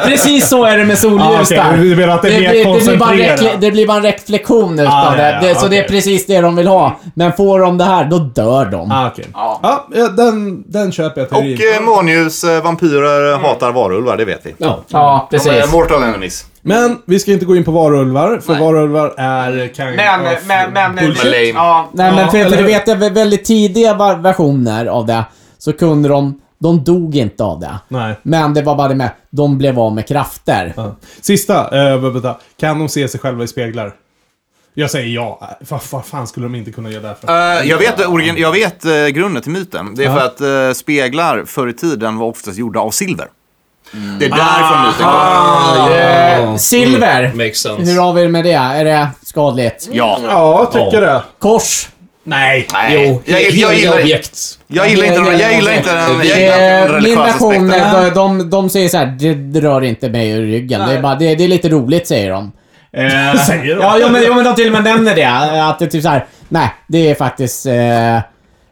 Speaker 4: Precis så är det med
Speaker 1: Ah,
Speaker 4: solljus
Speaker 1: okej.
Speaker 4: där.
Speaker 1: Du menar att det är mer
Speaker 4: blir, det, blir bara en
Speaker 1: koncentrerat?
Speaker 4: rekle- det blir bara en reflektion utav
Speaker 1: Ah, ja,
Speaker 4: det.
Speaker 1: ja,
Speaker 4: det så det är
Speaker 1: okej.
Speaker 4: precis det de vill ha. Men får de det här, då dör de.
Speaker 1: Ah, okej.
Speaker 3: Ja.
Speaker 1: Ja, ja, den, den köper jag teorin.
Speaker 3: Och eh, månljus, eh, vampyrer eh, hatar varulvar, det vet vi.
Speaker 2: Ja.
Speaker 4: Ja,
Speaker 3: De är mortal enemies.
Speaker 1: Men vi ska inte gå in på varulvar, för varulvar är kind of bullshit.
Speaker 3: Mm. men-
Speaker 4: ja, nej, men
Speaker 1: Ja,
Speaker 4: för, för
Speaker 1: eller
Speaker 4: du
Speaker 1: hur?
Speaker 4: vet, jag vet, väldigt tidiga var- versioner av det, så kunde de, de dog inte av det.
Speaker 1: Nej.
Speaker 4: Men det var bara det med, de blev av med krafter.
Speaker 1: Ja. Sista, eh, vänta. Kan de se sig själva i speglar? Jag säger ja. Äh, Vad vad fan skulle de inte kunna göra därför?
Speaker 3: Eh, jag vet, origin- jag vet eh, grunden till myten. Det är för att eh, speglar förr i tiden var oftast gjorda av silver. Det är därifrån myten kommer.
Speaker 4: Eh, Silver.
Speaker 2: Mm, Makes sense.
Speaker 4: Hur har vi det med det? Är det skadligt?
Speaker 3: Ja.
Speaker 1: Ja, tycker det.
Speaker 4: Kors.
Speaker 2: Nej.
Speaker 3: Nej.
Speaker 2: Jo,
Speaker 3: Jag- jag
Speaker 2: heliga
Speaker 3: gillar-
Speaker 2: objekt.
Speaker 3: Jag gillar inte den, jag gillar inte den, jag gillar inte den
Speaker 4: Eh, Min
Speaker 3: religiösa
Speaker 4: version,
Speaker 3: aspekten.
Speaker 4: eh, de, de, de säger så här, det, det rör inte mig ur ryggen. Det är, bara, det, det är lite roligt, säger de.
Speaker 1: Säger de.
Speaker 4: Ja, jo, men, jo, men de till och med nämner det. Att det är typ så här, nej, det är faktiskt... Eh,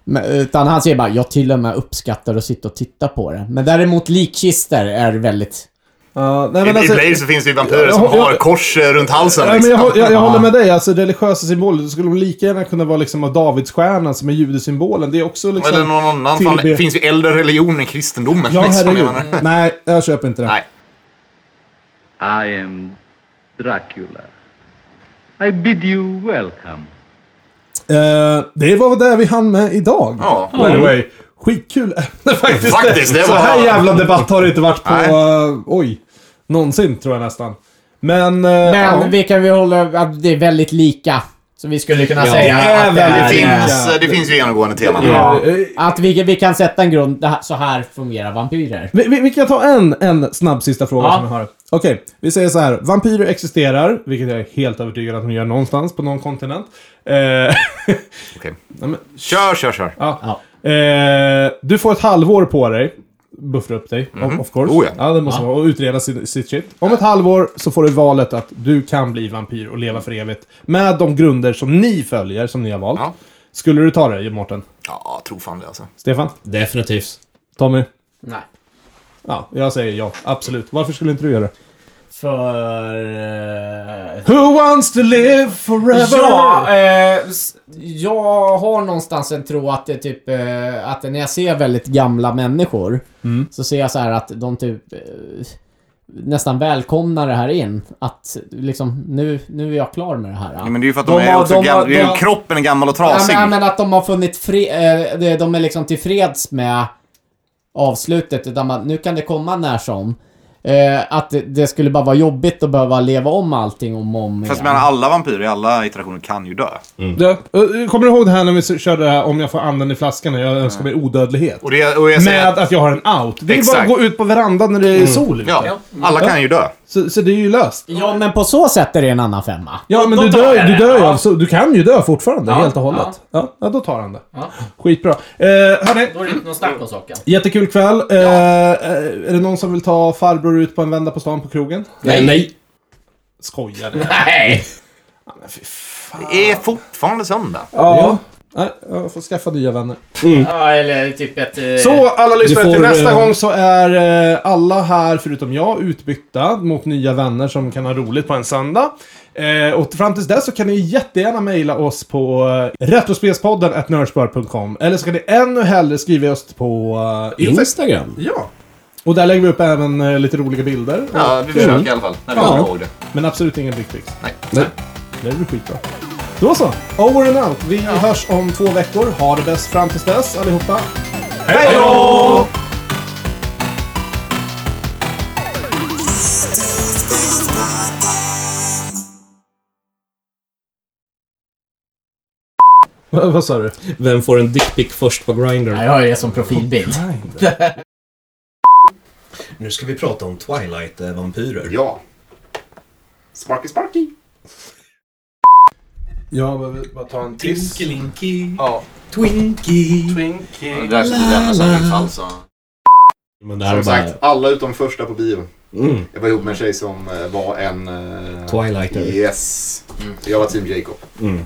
Speaker 4: men- utan han säger bara, jag till och med uppskattar att sitta och titta på det. Men däremot likkister är väldigt...
Speaker 1: Ja, nej,
Speaker 3: I,
Speaker 1: men
Speaker 3: I
Speaker 1: alltså,
Speaker 3: Blaze så finns det ju vampyrer som
Speaker 1: Jag- jag-
Speaker 3: har kors eh, runt halsen.
Speaker 1: Nej, men
Speaker 3: liksom.
Speaker 1: jag, hå- jag, jag håller med dig, alltså religiösa symboler, då skulle de lika gärna kunna vara liksom av Davidsstjärnan som är judesymbolen. Det är också liksom...
Speaker 3: Eller någon annan. Fan, det finns ju äldre religion än kristendomen.
Speaker 1: Ja,
Speaker 3: liksom, jag
Speaker 1: herregud. Mm.
Speaker 3: menar.
Speaker 1: Nej, jag köper inte det.
Speaker 3: Nej.
Speaker 6: I am Dracula. I bid you welcome.
Speaker 1: Eh, det var det vi hann med idag.
Speaker 3: Ja.
Speaker 1: By the way, skitkul ämne faktiskt.
Speaker 3: Faktiskt, det
Speaker 1: Så
Speaker 3: var-
Speaker 1: här jävla debatt har det inte varit på,
Speaker 3: Nej.
Speaker 1: eh, oj, någonsin tror jag nästan. Men... eh,
Speaker 4: Men
Speaker 1: ja.
Speaker 4: vi kan vi hålla... Att det är väldigt lika. Så vi skulle kunna
Speaker 2: Ja,
Speaker 4: säga
Speaker 1: det är
Speaker 4: att det
Speaker 1: väldigt
Speaker 4: är...
Speaker 3: Det,
Speaker 1: lika.
Speaker 4: eh,
Speaker 3: finns, eh, det finns ju genomgående teman.
Speaker 1: Ja. eh,
Speaker 4: Att vi, vi kan sätta en grund, det här, så här fungerar vampyrer.
Speaker 1: Vi, vi, vi kan ta en, en snabb sista fråga
Speaker 4: Ja.
Speaker 1: som jag har. Okej, vi säger så här. Vampyrer existerar, vilket jag är helt övertygad att de gör någonstans på någon kontinent. Eh,
Speaker 3: Okej.
Speaker 1: nej, men,
Speaker 3: Kör, kör, kör.
Speaker 1: ja. Eh, du får ett halvår på dig. Buffra upp dig, of- of course.
Speaker 3: Oh ja.
Speaker 1: det måste man. Och utreda sin, sitt shit. Om ett halvår så får du valet att du kan bli vampyr och leva för evigt. Med de grunder som ni följer, som ni har valt.
Speaker 3: Ja.
Speaker 1: Skulle du ta det, Mårten?
Speaker 3: Ja, tro fan det alltså.
Speaker 1: Stefan?
Speaker 2: Definitivt.
Speaker 1: Tommy?
Speaker 4: Nej.
Speaker 1: Ja, jag säger ja. Absolut. Varför skulle inte du göra det?
Speaker 4: För... eh,
Speaker 1: Who wants to live forever?
Speaker 4: Ja, eh, s- jag har någonstans en tro att det är typ eh, att när jag ser väldigt gamla människor så ser jag så här att de typ eh, nästan välkomnar det här in. Att liksom nu, nu är jag klar med det här.
Speaker 3: Ja, men det är ju för att de,
Speaker 4: De
Speaker 3: är
Speaker 4: har-
Speaker 3: också
Speaker 4: de har-
Speaker 3: gamla. det är ju
Speaker 4: de-
Speaker 3: kroppen är gammal och
Speaker 4: Ja,
Speaker 3: trasig.
Speaker 4: men, ja, men att de har funnit fri, eh, det- de är liksom tillfreds med avslutet. Utan man, nu kan det komma när som. Eh, att det, det skulle bara vara jobbigt att behöva leva om allting om och om
Speaker 3: Fast
Speaker 4: igen.
Speaker 3: men alla vampyrer i alla iterationer kan ju dö.
Speaker 1: Ja. eh, Kommer du ihåg det här när vi körde det här om jag får andan i flaskan och jag önskar mig odödlighet?
Speaker 3: Och, det, och jag säger
Speaker 1: Med
Speaker 3: att,
Speaker 1: att jag har en out. Det är bara att
Speaker 3: Exakt. Mm.
Speaker 1: gå ut på verandan när det är sol ute.
Speaker 3: ja, alla kan ju dö.
Speaker 1: Så, så det är ju löst.
Speaker 4: Ja, men på så sätt är det en annan femma.
Speaker 1: Ja, men du dör, du dör ju av, så du kan ju dö fortfarande helt och hållet. Ja. Ja, då tar han det. Skitbra. Eh, hörni,
Speaker 4: Då är det inte någon snack om saken.
Speaker 1: jättekul kväll. Eh, eh, Är det någon som vill ta farbror ut på en vända på stan på krogen?
Speaker 2: Nej. Nej.
Speaker 1: Skojar ni?
Speaker 4: Nej!
Speaker 3: Det är fortfarande söndag.
Speaker 1: Ja. Nej, jag får skaffa nya vänner.
Speaker 4: Ja, eller typ ett... eh,
Speaker 1: Så alla lyssnare,
Speaker 2: Du får,
Speaker 1: till nästa
Speaker 2: eh,
Speaker 1: gång så är eh, alla här förutom jag utbytta mot nya vänner som kan ha roligt på en söndag. Eh, och fram tills dess så kan ni jättegärna mejla oss på eh, retrospelspodden at nördspör.com eller så kan ni ännu hellre skriva oss på eh,
Speaker 2: Mm.
Speaker 1: Instagram.
Speaker 2: Instagram.
Speaker 1: Ja. Och där lägger vi upp även eh, lite roliga bilder.
Speaker 3: Ja, vi försöker i alla fall. När vi
Speaker 1: Ja.
Speaker 3: kommer ihåg det.
Speaker 1: Men absolut ingen dickpics.
Speaker 3: Nej.
Speaker 1: Det blir skitbra. Då så. Over and out. Vi hörs om två veckor. Ha det bäst fram tills dess allihopa. Hej då! Vad vad sa du?
Speaker 2: Vem får en dickpic först på Grindr?
Speaker 4: Jag har ju det som profilbild.
Speaker 7: Nu ska vi prata om Twilight-vampyrer.
Speaker 3: Ja. Sparky, sparky.
Speaker 1: Jag behöver bara ta en tiss.
Speaker 7: Twinky,
Speaker 3: Ja.
Speaker 7: Twinky.
Speaker 3: Det där skulle vi lämna som utfall så.
Speaker 2: Men det här är bara...
Speaker 3: alla utom första på bio.
Speaker 2: Mm.
Speaker 3: Jag var ihop med en tjej som eh, var en... eh,
Speaker 2: Twilighter.
Speaker 3: Yes. Jag var team Jacob.
Speaker 2: Mm.